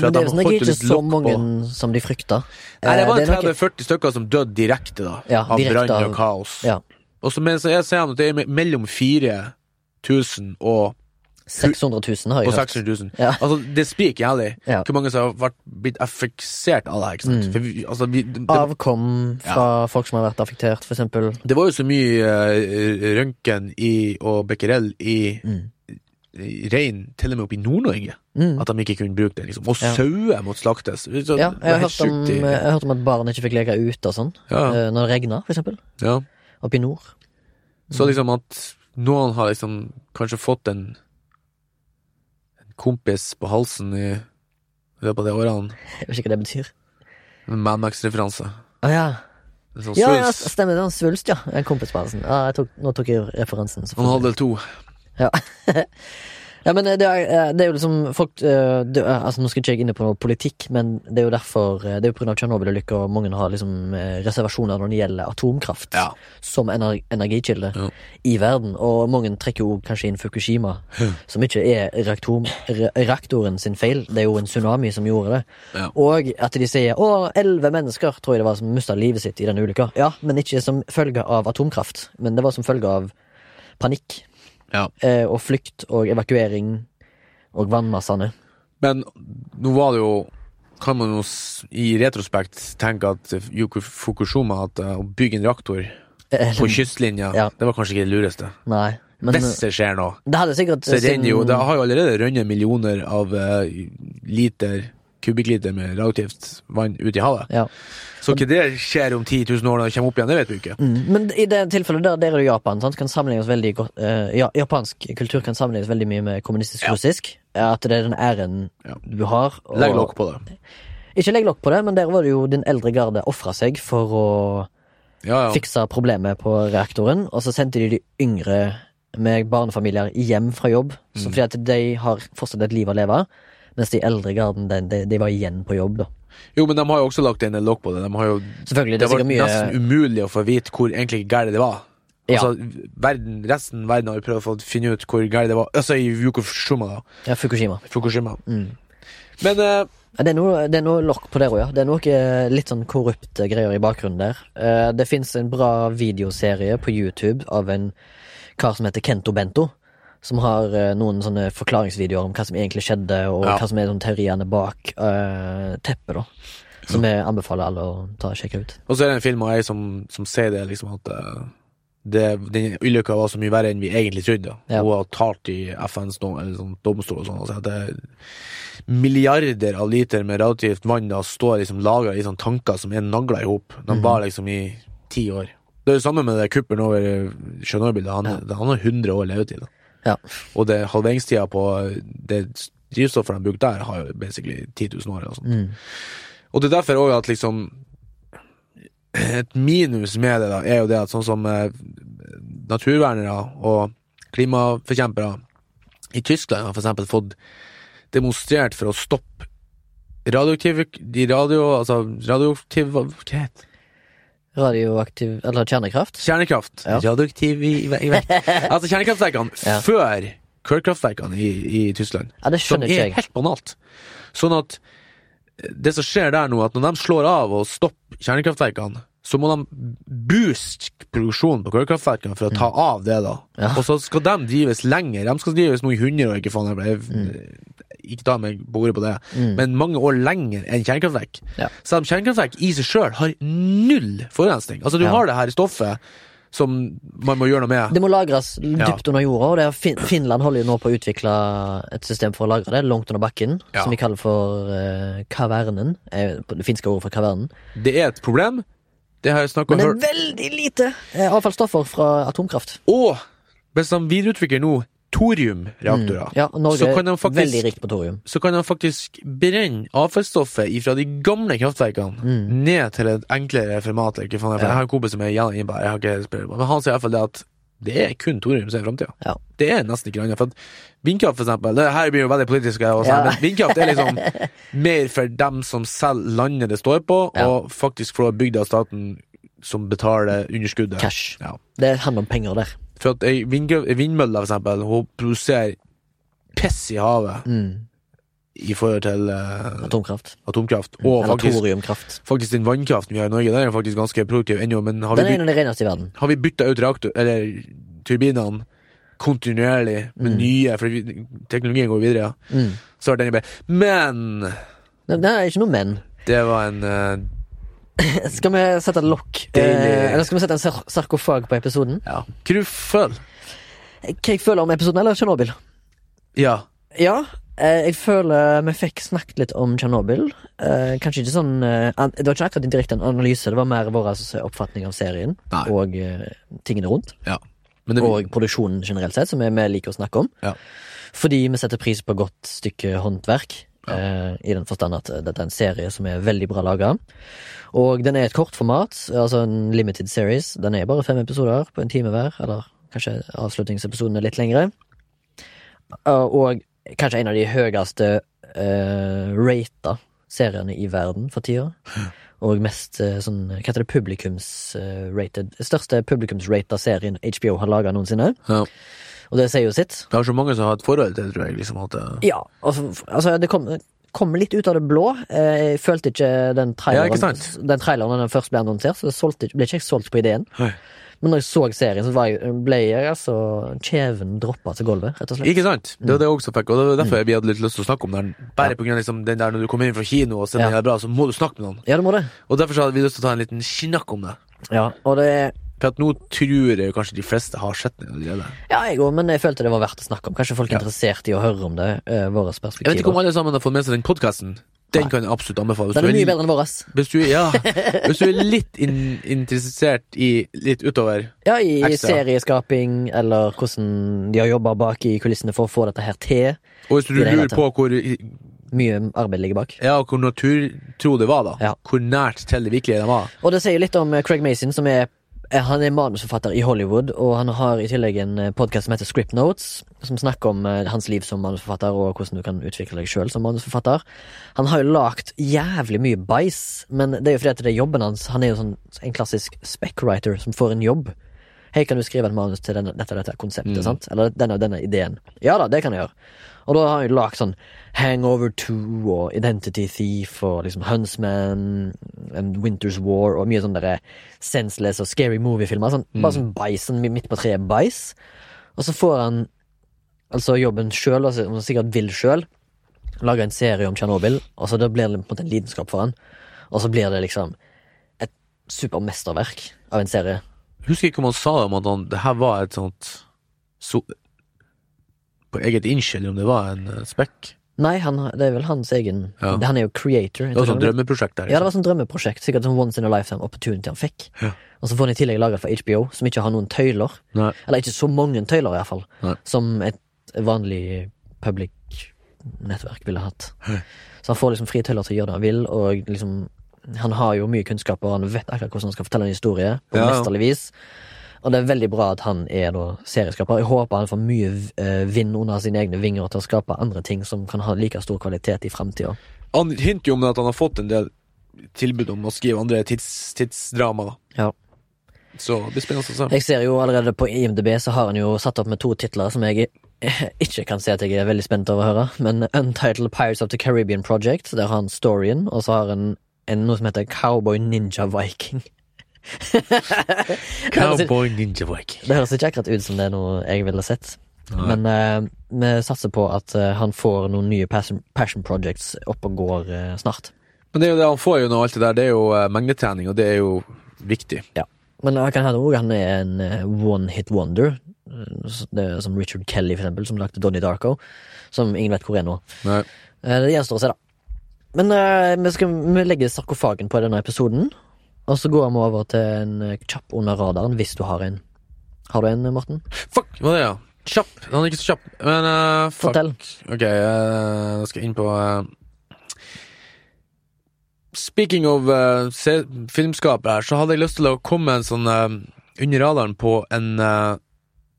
Speaker 3: For at
Speaker 2: men det
Speaker 3: de
Speaker 2: er jo
Speaker 3: holdt
Speaker 2: sånn,
Speaker 3: jo
Speaker 2: ikke
Speaker 3: litt
Speaker 2: så
Speaker 3: lokk
Speaker 2: mange
Speaker 3: på-
Speaker 2: som de frykta.
Speaker 3: Nei, det
Speaker 2: Eh,
Speaker 3: var
Speaker 2: er nok-
Speaker 3: 30-40 stykker som døde direkte da
Speaker 2: Ja,
Speaker 3: Av
Speaker 2: direkte
Speaker 3: brann
Speaker 2: av-
Speaker 3: og kaos
Speaker 2: Ja.
Speaker 3: Og så mens jeg ser at det er me- mellom 4000 og,
Speaker 2: 600 000 har
Speaker 3: og
Speaker 2: jeg
Speaker 3: 600 000
Speaker 2: hørt. Ja.
Speaker 3: Altså det spriker jævlig
Speaker 2: Ja. Mm.
Speaker 3: Hvor mange som har vært, blitt affeksert av det her Ikke sant? For vi, altså, vi, det, det,
Speaker 2: Avkom fra folk som har vært affektert, for eksempel.
Speaker 3: det var jo så mye uh, Rønken i, og Becquerel i, i Rein Til og med oppe i Nord-Norge
Speaker 2: Mm.
Speaker 3: At de ikke kunne bruke det, liksom. Og
Speaker 2: Ja.
Speaker 3: sauer måtte slaktes. Så, det
Speaker 2: Ja, jeg
Speaker 3: var
Speaker 2: har,
Speaker 3: helt
Speaker 2: hørt om, eh,
Speaker 3: sjukt i-
Speaker 2: jeg har hørt om at barn ikke fikk leke ute og sånn.
Speaker 3: Ja.
Speaker 2: eh, Når det regna, for eksempel.
Speaker 3: ja.
Speaker 2: Oppe i nord.
Speaker 3: Så liksom at Noen har liksom kanskje fått en, en kompis på halsen i løpet av de årene.
Speaker 2: Jeg vet ikke hva det betyr.
Speaker 3: En Mad Max-referanse.
Speaker 2: Å ja.
Speaker 3: En sånn
Speaker 2: Ja, altså. ja,
Speaker 3: svulst.
Speaker 2: stemmer det. Han svulst, ja. En kompis på halsen. Ja, jeg tok, nå tok jeg referansen.
Speaker 3: Han hadde to.
Speaker 2: Ja. ja, men eh, det er, det er jo liksom folk eh, det, er- altså, Nå skal ikke jeg inn på noe politikk, men det er jo derfor eh, Det er jo pga. Tsjernobyl-ulykka og mange har liksom eh, reservasjoner når det gjelder atomkraft
Speaker 3: Ja.
Speaker 2: som ener energikilde
Speaker 3: Ja.
Speaker 2: i verden. Og mange trekker jo kanskje inn Fukushima, som ikke er reaktor, re- reaktoren sin feil. Det er jo en tsunami som gjorde det.
Speaker 3: Ja.
Speaker 2: Og at de sier å, elleve mennesker tror jeg det var som mista livet sitt i denne ulykka. Ja, men ikke som følge av atomkraft, men det var som følge av panikk
Speaker 3: Ja.
Speaker 2: eh, og flykt og evakuering og vannmassene.
Speaker 3: Men nå var det jo Kan man jo s- i retrospekt tenke at Yuko Fukushima at eh, å bygge en reaktor
Speaker 2: Eh,
Speaker 3: på kystlinja,
Speaker 2: Ja.
Speaker 3: det var kanskje ikke det lureste.
Speaker 2: nei, men
Speaker 3: Hvis det skjer noe,
Speaker 2: det hadde sikkert
Speaker 3: så renner jo
Speaker 2: sin-
Speaker 3: Det har jo allerede rønnet millioner av eh, liter kubikkliter med radioaktivt vann ut i havet.
Speaker 2: ja.
Speaker 3: Så ikke det skjer om 10 000 år når det kommer opp igjen, det vet vi ikke.
Speaker 2: Mm, Men i det tilfellet der, der er det Japan. Sant? Kan sammenlignes veldig godt eh, ja, Japansk kultur kan sammenlignes veldig mye med kommunistisk russisk. Ja, At det er den æren
Speaker 3: Ja.
Speaker 2: du har. og-
Speaker 3: Legg lokk på det.
Speaker 2: Ikke legg lokk på det, men der var det jo din eldre garde ofra seg for å
Speaker 3: Ja, ja.
Speaker 2: fikse problemet på reaktoren. Og så sendte de de yngre med barnefamilier hjem fra jobb,
Speaker 3: Mm.
Speaker 2: så fordi at de har fortsatt et liv å leve. Mens de eldre garden de, de, de var igjen på jobb, da.
Speaker 3: Jo, men de har jo også lagt inn et lokk på det. De har jo,
Speaker 2: Selvfølgelig. Det
Speaker 3: det
Speaker 2: er
Speaker 3: var
Speaker 2: sikkert mye
Speaker 3: nesten umulig å få vite hvor egentlig galt det var.
Speaker 2: Ja.
Speaker 3: Altså, verden, resten av verden har jo prøvd å få finne ut hvor galt det var. Altså i Fukushima, da.
Speaker 2: ja, Fukushima.
Speaker 3: Fukushima.
Speaker 2: Mm.
Speaker 3: Men eh,
Speaker 2: Ja, Det er noe, det er noe lokk på der òg, ja. Det er noe eh, litt sånn korrupte greier i bakgrunnen der. Eh, Det fins en bra videoserie på YouTube av en kar som heter Kento Bento. Som har eh, noen sånne forklaringsvideoer om hva som egentlig skjedde, og
Speaker 3: Ja.
Speaker 2: hva som er sånn teoriene bak eh, teppet, da. Som jeg anbefaler alle å ta og sjekke ut.
Speaker 3: Og så er det en film av ei som, som sier det, liksom at eh, det, den ulykka var så mye verre enn vi egentlig trodde.
Speaker 2: Ja.
Speaker 3: Hun har talt i FNs dom, eller sånn domstol og sånn og sier at det er milliarder av liter med radioaktivt vann da står liksom lagra i sånne tanker som er nagla i hop. De var liksom i ti år. Det er jo samme med det kuppelen over eh, Tsjernobyl. da. Han, da han har 100 år levetid. da.
Speaker 2: Ja.
Speaker 3: Og det halveringstida på det drivstoffet de bruker der, har jo basically 10 000 år. eller noe sånt.
Speaker 2: Mm.
Speaker 3: Og det er derfor òg at liksom Et minus med det da er jo det at sånn som eh, naturvernere og klimaforkjempere i Tyskland har for eksempel fått demonstrert for å stoppe radioaktiv de radio, altså radioaktiv hva heter det?
Speaker 2: Radioaktiv Eller kjernekraft?
Speaker 3: Kjernekraft.
Speaker 2: Ja.
Speaker 3: Radioaktiv i, i, i
Speaker 2: <laughs>
Speaker 3: Altså kjernekraftverkene
Speaker 2: Ja.
Speaker 3: før kullkraftverkene i, i Tyskland.
Speaker 2: Ja, det
Speaker 3: Som
Speaker 2: skjønner ikke
Speaker 3: er
Speaker 2: jeg.
Speaker 3: helt banalt. Sånn at eh, det som skjer der nå, at når de slår av og stopper kjernekraftverkene, så må de booste produksjonen på kullkraftverkene for å ta av det, da.
Speaker 2: Mm. Ja.
Speaker 3: Og så skal de drives lenger. De skal drives nå i 100 år, ikke faen jeg ble
Speaker 2: Mm.
Speaker 3: Ikke ta meg på ordet på det, men mange år lenger enn kjernekraftverk.
Speaker 2: Ja.
Speaker 3: Selv om kjernekraftverk i seg sjøl har null forurensning. Altså, du
Speaker 2: Ja.
Speaker 3: har det her stoffet som man må gjøre noe med.
Speaker 2: Det må lagres dypt under jorda, og det er fin Finland holder jo nå på å utvikle et system for å lagre det langt under bakken,
Speaker 3: Ja.
Speaker 2: som vi kaller for eh, kavernen. Er på det finske ordet for kavernen.
Speaker 3: Det er et problem. Det har jeg snakka
Speaker 2: Men
Speaker 3: om før.
Speaker 2: det er veldig lite eh, avfallsstoffer fra atomkraft.
Speaker 3: Og hvis de videreutvikler nå thoriumreaktorer,
Speaker 2: Mm. Ja, og Norge
Speaker 3: så, kan de
Speaker 2: er veldig
Speaker 3: faktisk,
Speaker 2: rikt på thorium.
Speaker 3: så kan de faktisk brenne avfallsstoffet fra de gamle kraftverkene
Speaker 2: Mm.
Speaker 3: ned til et enklere format. Ikke faen, jeg, for jeg har en kompis som er gjerne innbær, jeg har ikke helt spill på, men han sier i hvert fall det at det er kun thorium som er framtida.
Speaker 2: Ja.
Speaker 3: Det er nesten ikke noe annet. For at vindkraft, for eksempel, det her blir jo veldig politisk, og sånn,
Speaker 2: Ja.
Speaker 3: men vindkraft er
Speaker 2: <laughs>
Speaker 3: liksom mer for dem som selger landet det står på,
Speaker 2: Ja.
Speaker 3: og faktisk får bygd av staten som betaler underskuddet.
Speaker 2: Cash.
Speaker 3: Ja.
Speaker 2: Det handler om penger der.
Speaker 3: For at ei vindgrø- vindmølle, for eksempel, hun produserer piss i havet
Speaker 2: Mm.
Speaker 3: i forhold til eh,
Speaker 2: Atomkraft.
Speaker 3: atomkraft. Og
Speaker 2: Eller
Speaker 3: faktisk,
Speaker 2: thoriumkraft.
Speaker 3: faktisk den vannkraften vi har i Norge, den er jo faktisk ganske produktiv ennå, men har vi,
Speaker 2: Den
Speaker 3: byt,
Speaker 2: er en av de reneste i verden.
Speaker 3: har vi bytta ut reaktor, eller turbinene kontinuerlig med nye, for vi, teknologien går videre, ja.
Speaker 2: Mm.
Speaker 3: så har den bedre. Men
Speaker 2: Nei, det er ikke noe men. <laughs>
Speaker 3: det var en eh,
Speaker 2: Skal vi sette et lokk?
Speaker 3: Deilig.
Speaker 2: Eh, eller skal vi sette en sar sarkofag på episoden? Eh,
Speaker 3: ja, kruffel.
Speaker 2: Hva jeg føler om episoden, eller Tsjernobyl?
Speaker 3: Ja.
Speaker 2: Ja, eh, jeg føler vi fikk snakket litt om Tsjernobyl. Eh, kanskje ikke sånn eh, an- Det var ikke akkurat en direkte en analyse, det var mer vår oppfatning av altså, serien
Speaker 3: Nei.
Speaker 2: og eh, tingene rundt.
Speaker 3: Ja. Men det,
Speaker 2: og produksjonen generelt sett, som vi vi liker å snakke om.
Speaker 3: Ja.
Speaker 2: Fordi vi setter pris på godt stykke håndverk, eh, i den forstand at dette er en serie som er veldig bra laga. Og den er et kort format, altså en limited series. Den er bare fem episoder på en time hver, eller kanskje avslutningsepisoden er litt lengre. Eh, Og kanskje en av de høyeste eh, rata seriene i verden for tida. Og mest eh, sånn Hva heter det? Publikums-rated eh, Største publikums-rata serien HBO har laga noensinne.
Speaker 3: ja.
Speaker 2: Og det sier jo sitt.
Speaker 3: Det er så mange som har et forhold til det, tror jeg. Liksom, at, det-
Speaker 2: Ja, altså, altså det kom, kom litt ut av det blå. Eh, Jeg følte ikke den
Speaker 3: Ja, ikke
Speaker 2: traileren
Speaker 3: sant?
Speaker 2: Den traileren når den først ble annonsert, så det solgte, ikke- ble ikke jeg solgt på ideen.
Speaker 3: Nei.
Speaker 2: Men når jeg så serien, så var jeg, ble jeg altså Kjeven droppa til gulvet, rett og slett.
Speaker 3: ikke sant? Det
Speaker 2: Mm.
Speaker 3: var det jeg også fikk, og det var derfor vi hadde litt lyst til å snakke om den. Bare på grunn av liksom, den der når du kommer inn fra kino og ser
Speaker 2: Ja.
Speaker 3: den er bra, så må du snakke med noen.
Speaker 2: Ja, det må det.
Speaker 3: Og derfor så hadde vi lyst til å ta en liten snakk om det.
Speaker 2: Ja, og det er
Speaker 3: For at nå tror jeg jo kanskje de fleste har sett den allerede.
Speaker 2: Ja, jeg òg, men jeg følte det var verdt å snakke om. Kanskje folk er interessert i å høre om det. Eh, våre
Speaker 3: Jeg vet ikke om
Speaker 2: perspektiver.
Speaker 3: alle sammen har fått med seg den podkasten. Den kan jeg absolutt anbefale. Hvis
Speaker 2: Den
Speaker 3: du
Speaker 2: er mye
Speaker 3: er-
Speaker 2: bedre enn vår.
Speaker 3: Hvis du, ja, hvis du er litt in interessert i litt utover
Speaker 2: Ja, i
Speaker 3: Ekstra.
Speaker 2: serieskaping, eller hvordan de har jobba bak i kulissene for å få dette her til.
Speaker 3: Og hvis du
Speaker 2: I det hele
Speaker 3: lurer på hvor,
Speaker 2: Mye arbeid ligger bak.
Speaker 3: ja, hvor naturtro det var, da.
Speaker 2: Ja.
Speaker 3: Hvor nært til det virkelige det var.
Speaker 2: Og det sier litt om eh, Craig Mason, som er eh, han er manusforfatter i Hollywood, og han har i tillegg en podkast som heter Script Notes, som snakker om eh, hans liv som manusforfatter og hvordan du kan utvikle deg sjøl som manusforfatter. Han har jo lagd jævlig mye bæsj, men det er jo fordi at det er jobben hans. Han er jo sånn en klassisk spec-writer som får en jobb. Hei, kan du skrive et manus til denne, dette, dette konseptet? sant? Eller denne, denne ideen. Ja da, det kan jeg gjøre. Og da har han jo lagd sånn Hangover 2 og Identity Thief og liksom Huntsman and Winter's War og mye sånne der senseless og scary movie-filmer. Sånn, Bare sånn bæsj, sånn midt på treet bæsj. Og så får han altså jobben sjøl, altså, som han sikkert vil sjøl, lage en serie om Tsjernobyl, og så da blir det på en måte en lidenskap for han. Og så blir det liksom et supermesterverk av en serie.
Speaker 3: Husker ikke om han sa det, om at han, det her var et sånt so På eget innskyld, om det var en eh, spekk.
Speaker 2: Nei, han, det er vel hans egen
Speaker 3: Ja.
Speaker 2: Han er jo creator.
Speaker 3: Det var et sånt drømmeprosjekt der.
Speaker 2: Ja, det var sånn drømmeprosjekt. Sikkert sånn once in a lifetime opportunity han fikk.
Speaker 3: Ja.
Speaker 2: Og så får han i tillegg laget for HBO, som ikke har noen tøyler.
Speaker 3: Nei.
Speaker 2: Eller ikke så mange tøyler, i hvert fall.
Speaker 3: Nei.
Speaker 2: Som et vanlig public nettverk ville hatt.
Speaker 3: Hæ.
Speaker 2: Så han får liksom frie tøyler til å gjøre det han vil, og liksom Han har jo mye kunnskap, og han vet akkurat hvordan han skal fortelle en historie på
Speaker 3: Ja, ja.
Speaker 2: mesterlig vis. Og det er veldig bra at han er da serieskaper. Jeg håper han får mye eh, vind under sine egne vinger til å skape andre ting som kan ha like stor kvalitet i framtida.
Speaker 3: Han hinter jo om det at han har fått en del tilbud om å skrive andre tids, tidsdrama.
Speaker 2: Ja.
Speaker 3: Så det blir spennende å se.
Speaker 2: Jeg ser jo allerede på IMDb så har han jo satt opp med to titler som jeg <laughs> ikke kan si at jeg er veldig spent over å høre, men Untitled Pirates of the Caribbean Project, der har han storyen, og så har han en, noe som heter Cowboy Ninja Viking.
Speaker 3: Cowboy Ninja Viking.
Speaker 2: Det høres ikke akkurat ut som det er noe jeg ville sett. Men eh, vi satser på at eh, han får noen nye passion, passion projects opp og går eh, snart.
Speaker 3: Men det er jo det han får jo nå, alt det der. Det er jo eh, mengdetrening, og det er jo viktig.
Speaker 2: Men jeg kan høre også, han er en eh, one-hit wonder, eh, s- det, er som Richard Kelly, for eksempel, som lagde Donnie Darko, som ingen vet hvor er nå.
Speaker 3: Nei.
Speaker 2: Eh, Det gjenstår å se, da. Men eh, vi skal vi legger sarkofagen på denne episoden. Og så går vi over til en eh, kjapp under radaren, hvis du har en. Har du en, eh, Morten?
Speaker 3: Fuck, hva er det, ja? Kjapp. Han er ikke så kjapp, men eh, fuck.
Speaker 2: Fortell.
Speaker 3: Ok, eh, da skal jeg inn på eh, Speaking of eh, se filmskapere, så hadde jeg lyst til å komme med en sånn eh, under radaren på en, eh,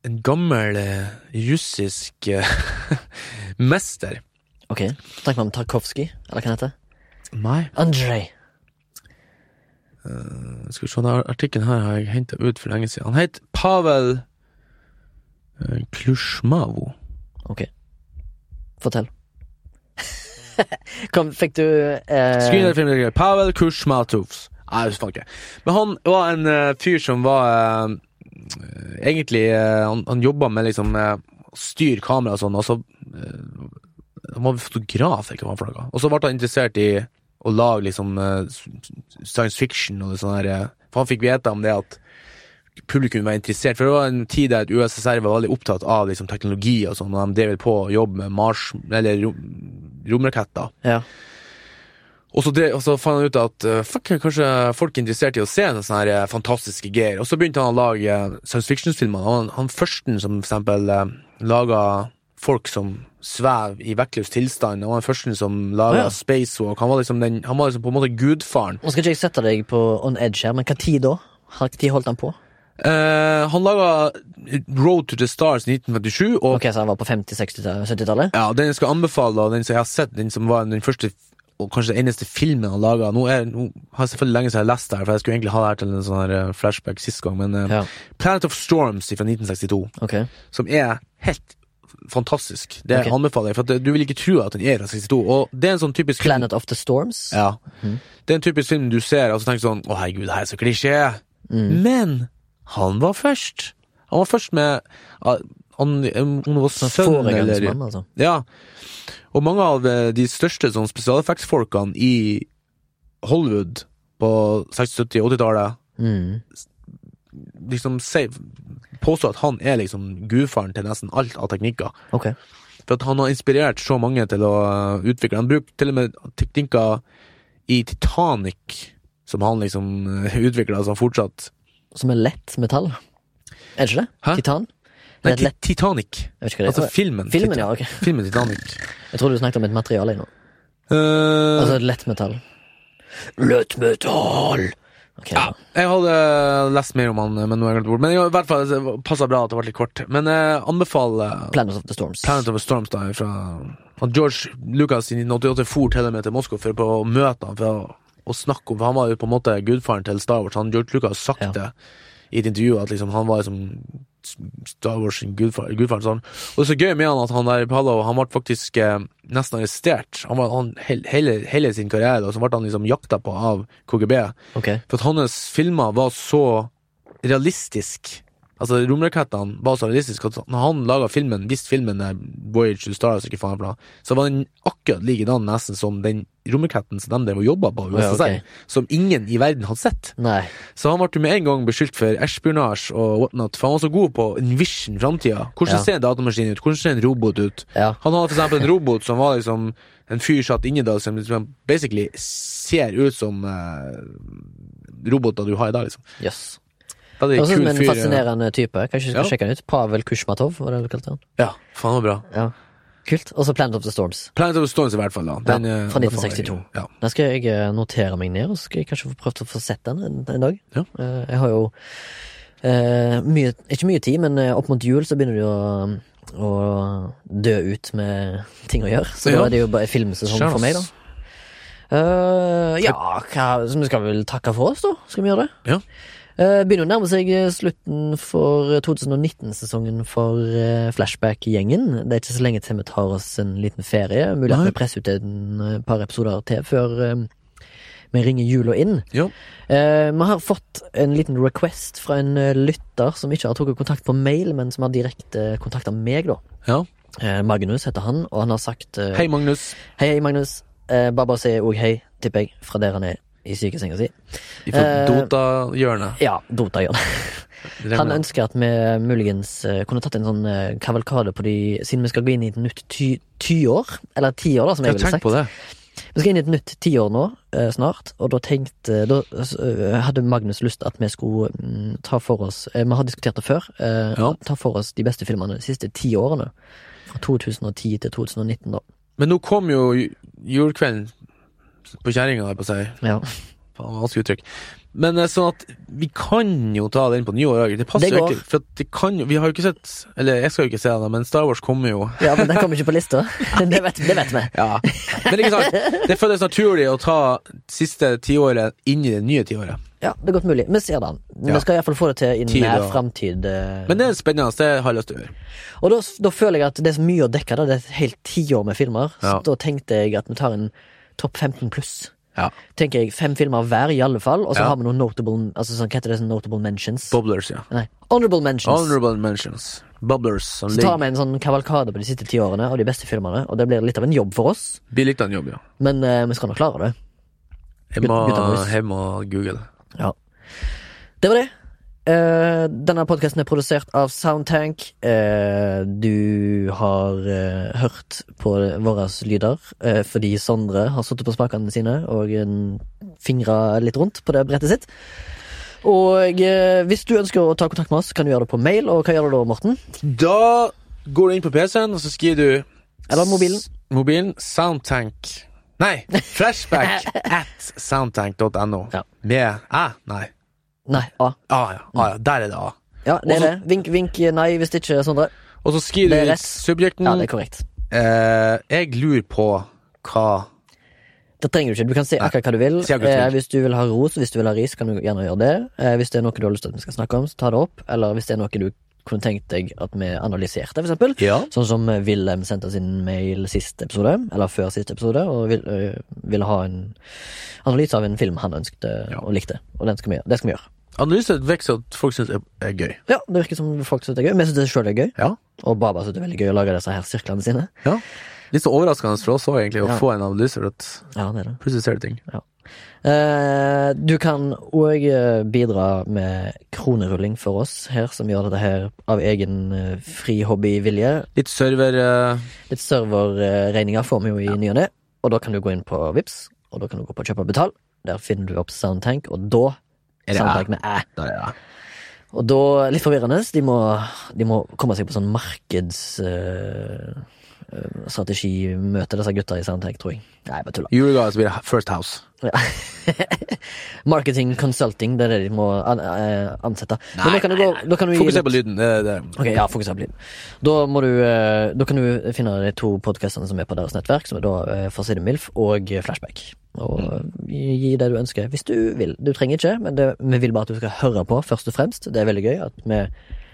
Speaker 3: en gammel eh, russisk eh, <laughs> mester.
Speaker 2: Ok. Snakker vi om Tarkovskij, eller hva han heter?
Speaker 3: Nei.
Speaker 2: Andrej.
Speaker 3: Skal vi se, denne artikkelen her har jeg henta ut for lenge siden. Han het Pavel eh, Klusjmavo.
Speaker 2: Ok. Fortell. <laughs> Kom, fikk du eh,
Speaker 3: Skriv ned filmregler. Pavel Kushmatovs. Nei, jeg husker ikke. Men han var en eh, fyr som var eh, Egentlig eh, Han, han jobba med liksom eh, å styre kamera og sånn, og så eh, Han var fotograf, ikke hva han var for noe. Og så ble han interessert i å lage liksom eh, s- s- science fiction og det sånne her, eh, For han fikk vite om det at publikum var interessert, for det var en tid der USSR var veldig opptatt av liksom, teknologi og sånn, og de drev på å jobbe med Mars, eller rom, romraketter.
Speaker 2: Ja.
Speaker 3: Og så, drev, og så fant han ut at eh, fuck, kanskje folk er interessert i å se en sånn her eh, fantastiske greier. Og så begynte han å lage eh, science fiction-filmer. Han, han førsten som for eksempel eh, laga folk som svev i vektløs tilstand. Han var den første som laga
Speaker 2: Å, ja.
Speaker 3: spacewalk. Han var, liksom den, han var liksom på en måte gudfaren.
Speaker 2: Nå skal ikke jeg sette deg på on edge her, men hva tid da? Hva tid holdt han på?
Speaker 3: Eh, han laga Road to the Stars i 1957, og
Speaker 2: Ok, Så han var på 50-, 60-, 70-tallet?
Speaker 3: Ja, den jeg skal anbefale, og den som jeg har sett, den som var den første og kanskje den eneste filmen han laga nå, er- nå har jeg selvfølgelig lenge siden jeg har lest det her, for jeg skulle egentlig ha det her til en sånn her eh, flashback sist gang, men eh,
Speaker 2: Ja.
Speaker 3: Planet of Storms fra 1962,
Speaker 2: Ok.
Speaker 3: som er helt fantastisk. Det
Speaker 2: Ok.
Speaker 3: anbefaler jeg, for at eh, du vil ikke tro at den er fra 62, og det er en sånn typisk film-
Speaker 2: Planet Mm. of the Storms?
Speaker 3: ja. Det er en typisk film du ser og så tenker du sånn Å, herregud, det her er så klisjé.
Speaker 2: Mm.
Speaker 3: Men han var først. Han var først med ah, han, Om det var
Speaker 2: Sånn
Speaker 3: sønn eller
Speaker 2: foregangsmann, altså.
Speaker 3: ja. Og mange av eh, de største sånn, spesialeffektsfolkene i Hollywood på 60-, 70-, 80-tallet
Speaker 2: Mm.
Speaker 3: liksom, sier- påstår at han er liksom gudfaren til nesten alt av teknikker.
Speaker 2: Ok.
Speaker 3: For at han har inspirert så mange til å eh, utvikle Han bruker til og med teknikker i Titanic som han liksom <laughs> utvikla som fortsatt
Speaker 2: Som er lett metall? Er det ikke det?
Speaker 3: Hæ?
Speaker 2: Titan?
Speaker 3: Nei,
Speaker 2: Det er
Speaker 3: Ti-
Speaker 2: lett-
Speaker 3: Titanic.
Speaker 2: Jeg vet ikke hva det
Speaker 3: Altså
Speaker 2: er.
Speaker 3: filmen.
Speaker 2: Filmen,
Speaker 3: Titan-
Speaker 2: ja. ok
Speaker 3: filmen Titanic.
Speaker 2: Jeg trodde du snakket om et materiale nå.
Speaker 3: Eh,
Speaker 2: Altså et lett metall. Lett metall! Ok, ja.
Speaker 3: Jeg hadde lest mer om han, eh, men nå har jeg glemt bort. Men i hvert fall det passet bra at det ble litt kort. Men jeg anbefaler
Speaker 2: Planet of the Storms.
Speaker 3: Planet of a Storms da, fra at George Lucas i 1988 for til og med til Moskva for å møte han for å, å snakke om For han var jo på en måte gudfaren til Star Wars. Han George Lucas har sagt
Speaker 2: Ja.
Speaker 3: det i et intervju, at liksom han var liksom Star Wars sin gudfar, gudfaren. Sånn. Og det er så gøy med han at han der Palo Han ble faktisk eh, nesten arrestert. Han var, han, he- hele, hele sin karriere, og så ble han liksom jakta på av KGB.
Speaker 2: Ok.
Speaker 3: For at hans filmer var så realistisk Altså Romrakettene var så realistiske at når han laga filmen, hvis filmen er Voyage to Stars, ikke faen bla, så var den akkurat likedan nesten som den romraketten som de drev og jobba på i
Speaker 2: Ja,
Speaker 3: USSR,
Speaker 2: ok.
Speaker 3: som ingen i verden hadde sett.
Speaker 2: Nei.
Speaker 3: Så han ble jo med en gang beskyldt for espionasje og whatnot, for han var så god på envision framtida. Hvordan
Speaker 2: Ja.
Speaker 3: ser en datamaskin ut? Hvordan ser en robot ut?
Speaker 2: Ja.
Speaker 3: Han hadde for eksempel en robot som var liksom en fyr satt inni der som liksom basically ser ut som eh, roboter du har i dag, liksom.
Speaker 2: Jøss. Yes.
Speaker 3: Veldig
Speaker 2: Høres ut
Speaker 3: kul
Speaker 2: som sånn en
Speaker 3: fyr. eh, ja.
Speaker 2: fascinerende type. Kanskje du skal
Speaker 3: Ja.
Speaker 2: sjekke han ut. Pavel Kushmatov, var det du kalte han?
Speaker 3: Ja, faen det var bra.
Speaker 2: Ja. Kult. Og så Planet of the Storms.
Speaker 3: Planet of the Stones i hvert fall, da. Den,
Speaker 2: Ja,
Speaker 3: eh,
Speaker 2: fra
Speaker 3: anbefaler
Speaker 2: 1962.
Speaker 3: jeg. Ja.
Speaker 2: Den skal jeg eh, notere meg ned, og så skal jeg kanskje få prøvd å få sett den en, en dag.
Speaker 3: Ja.
Speaker 2: Eh, Jeg har jo eh, mye, ikke mye tid, men eh, opp mot jul så begynner det jo å, å dø ut med ting å gjøre. Så
Speaker 3: Ja.
Speaker 2: da er det jo bare filmsesong
Speaker 3: Skjønns.
Speaker 2: for meg, da. Eh, ja, hva, så vi skal vel takke for oss, da? Skal vi gjøre det?
Speaker 3: Ja.
Speaker 2: Eh, Begynner å nærme seg eh, slutten for eh, 2019-sesongen for eh, Flashback-gjengen. Det er ikke så lenge til vi tar oss en liten ferie. Mulig at
Speaker 3: Nei.
Speaker 2: vi presser ut en eh, par episoder til før eh, vi ringer jula inn.
Speaker 3: Ja.
Speaker 2: Eh, Vi har fått en liten request fra en eh, lytter som ikke har tatt kontakt på mail, men som har direkte kontakta meg, da.
Speaker 3: ja.
Speaker 2: Eh, Magnus heter han, og han har sagt eh,
Speaker 3: Hei, Magnus.
Speaker 2: Hei, Magnus. Eh, Bare bare si òg hei, tipper jeg, fra der han er i sykesenga si.
Speaker 3: Ifra
Speaker 2: Eh,
Speaker 3: Dota-hjørnet.
Speaker 2: Ja, Dota gjør <laughs> det. Han ønsker at vi muligens eh, kunne tatt en sånn eh, kavalkade på de Siden vi skal gå inn i et nytt ty- tiår, eller tiår, da, som jeg,
Speaker 3: Jeg tenker
Speaker 2: ville sagt.
Speaker 3: på det.
Speaker 2: Vi skal inn i et nytt tiår nå, eh, snart, og da tenkte Da eh, hadde Magnus lyst at vi skulle mm, ta for oss eh, Vi har diskutert det før. eh,
Speaker 3: Ja.
Speaker 2: Ta for oss de beste filmene de siste ti årene. Fra 2010 til 2019, da.
Speaker 3: Men nå kom jo ju- julekvelden på kjerringa, holdt jeg på å si.
Speaker 2: Ja.
Speaker 3: Faen, vanskelig uttrykk. Men eh, sånn at vi kan jo ta den på nyår òg. Det passer
Speaker 2: Det
Speaker 3: jo
Speaker 2: går.
Speaker 3: ikke. For at det kan, jo- vi har jo ikke sett Eller jeg skal jo ikke se den, men Star Wars kommer jo.
Speaker 2: <laughs> ja, men den kom ikke på
Speaker 3: <laughs>
Speaker 2: lista. Det vet, det vet vi.
Speaker 3: Ja. Men ikke sant? Det føles naturlig å ta siste tiåret inn i det nye tiåret.
Speaker 2: Ja, det er godt mulig. Vi ser den.
Speaker 3: Ja.
Speaker 2: Vi skal iallfall få det til i
Speaker 3: Tid
Speaker 2: nær
Speaker 3: og-
Speaker 2: framtid. eh,
Speaker 3: Men det er spennende. Det har jeg lyst til å gjøre.
Speaker 2: Og da, da føler jeg at det er så mye å dekke. Da. Det er et helt tiår med filmer.
Speaker 3: Ja.
Speaker 2: Så da tenkte jeg at vi tar en topp 15 pluss.
Speaker 3: Ja.
Speaker 2: Tenker jeg Fem filmer hver, i alle fall. Og så
Speaker 3: Ja.
Speaker 2: har vi noen notable altså, sånn, Hva heter det? Sånn notable mentions?
Speaker 3: Bubblers, ja.
Speaker 2: Nei, honorable mentions.
Speaker 3: Honorable mentions. Bubblers. Som
Speaker 2: Så tar
Speaker 3: ligger
Speaker 2: vi en sånn kavalkade på de siste ti årene og de beste filmene. Og det blir litt av en jobb for oss,
Speaker 3: Blir litt av en jobb, ja.
Speaker 2: men eh, vi skal nok klare det.
Speaker 3: Jeg må,
Speaker 2: Gutta- gutta boys.
Speaker 3: jeg må google det.
Speaker 2: Ja. Det var det. eh, denne podkasten er produsert av Soundtank. Eh, du har eh, hørt på våre lyder eh, fordi Sondre har sittet på spakene sine og fingra litt rundt på det brettet sitt. Og eh, hvis du ønsker å ta kontakt med oss, kan du gjøre det på mail. Og hva gjør du da, Morten?
Speaker 3: Da går du inn på PC-en, og så skriver du
Speaker 2: Eller mobilen.
Speaker 3: s- Mobilen Soundtank Nei,
Speaker 2: <laughs>
Speaker 3: flashback at soundtank.no.
Speaker 2: Ja.
Speaker 3: Med æ? Nei.
Speaker 2: Nei, A.
Speaker 3: A, ja. A, ja. Der er det A.
Speaker 2: Ja,
Speaker 3: Også-
Speaker 2: det er det. Vink, vink, nei hvis det ikke, Sondre.
Speaker 3: Og så skriver
Speaker 2: Det er
Speaker 3: du i
Speaker 2: rett.
Speaker 3: subjekten
Speaker 2: Ja, det er korrekt.
Speaker 3: eh, Jeg lurer på hva
Speaker 2: Det trenger du ikke. Du kan si akkurat hva du vil.
Speaker 3: Si akkurat hva du
Speaker 2: Eh,
Speaker 3: vil.
Speaker 2: hvis du vil ha ros, hvis du vil ha ris, kan du gjerne gjøre det. Eh, hvis det er noe du har lyst til at vi skal snakke om, så ta det opp. Eller hvis det er noe du kunne tenkt deg at vi analyserte, for eksempel.
Speaker 3: Ja.
Speaker 2: Sånn som eh, Wilhelm sendte oss inn mail sist episode, eller før sist episode, og vil, øh, ville ha en analyse av en film han ønsket eh,
Speaker 3: Ja.
Speaker 2: og likte. Og den skal vi, gjøre- det skal vi gjøre.
Speaker 3: Analyse virker som at folk syns er, er gøy.
Speaker 2: Ja, det virker som folk synes det er gøy. Vi synes det selv er gøy.
Speaker 3: Ja.
Speaker 2: Og Baba synes det er veldig gøy å lage disse her sirklene sine.
Speaker 3: ja. Litt så overraskende for oss òg, egentlig, å
Speaker 2: Ja.
Speaker 3: få en analyse. For at
Speaker 2: Ja, det er det.
Speaker 3: plutselig ser du ting.
Speaker 2: Eh, Du kan òg bidra med kronerulling for oss her, som gjør dette her av egen eh, fri hobbyvilje.
Speaker 3: Litt server eh,
Speaker 2: Litt serverregninger får vi jo i ny og ne, og da kan du gå inn på Vips og da kan du gå på kjøp og betal. Der finner du opp Soundtank, og da
Speaker 3: Er det
Speaker 2: Soundtank med æ.
Speaker 3: Der er det.
Speaker 2: Og da, litt forvirrende, de må, de må komme seg på sånn markedsstrategimøte, disse gutta i Soundtank, tror jeg. Nei, bare tulla.
Speaker 3: Julegave så blir det First House.
Speaker 2: <laughs> Marketing consulting, det er det de må an eh, ansette. Men da kan du gå da kan du gi
Speaker 3: Fokuser
Speaker 2: litt-
Speaker 3: på lyden. Det, det.
Speaker 2: Ok, ja, fokuser på lyd. Da, må du, eh, da kan du finne de to podkastene som er på deres nettverk, som er da eh, Forside Milf og eh, Flashback. Og
Speaker 3: Mm.
Speaker 2: gi gi det du ønsker, hvis du vil. Du trenger ikke, men det, vi vil bare at du skal høre på, først og fremst. Det er veldig gøy at vi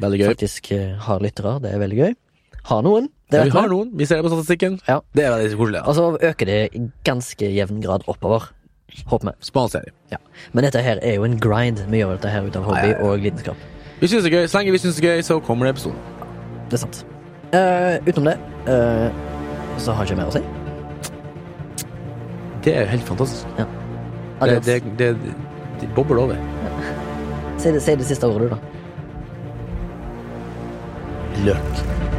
Speaker 3: Veldig gøy.
Speaker 2: faktisk eh, har lyttere. Det er veldig gøy. Har noen. Det
Speaker 3: Ja,
Speaker 2: vet
Speaker 3: vi har noen. Vi ser det på statistikken.
Speaker 2: Ja.
Speaker 3: Det er veldig koselig.
Speaker 2: Og så øker det i ganske jevn grad oppover. Håper vi.
Speaker 3: Ja. Smal serie.
Speaker 2: Ja. Men dette her er jo en grind. Vi gjør dette her ut av hobby
Speaker 3: Ja, ja, ja.
Speaker 2: og lidenskap.
Speaker 3: Vi syns det er gøy. Så lenge vi syns det er gøy, så kommer det episoden.
Speaker 2: Det er sant. Eh, utenom det eh, så har jeg ikke mer å si.
Speaker 3: Det er jo helt fantastisk. Det,
Speaker 2: Adios.
Speaker 3: det, det, det, bobler over.
Speaker 2: Si, det, si det siste ordet, du, da.
Speaker 3: Løk.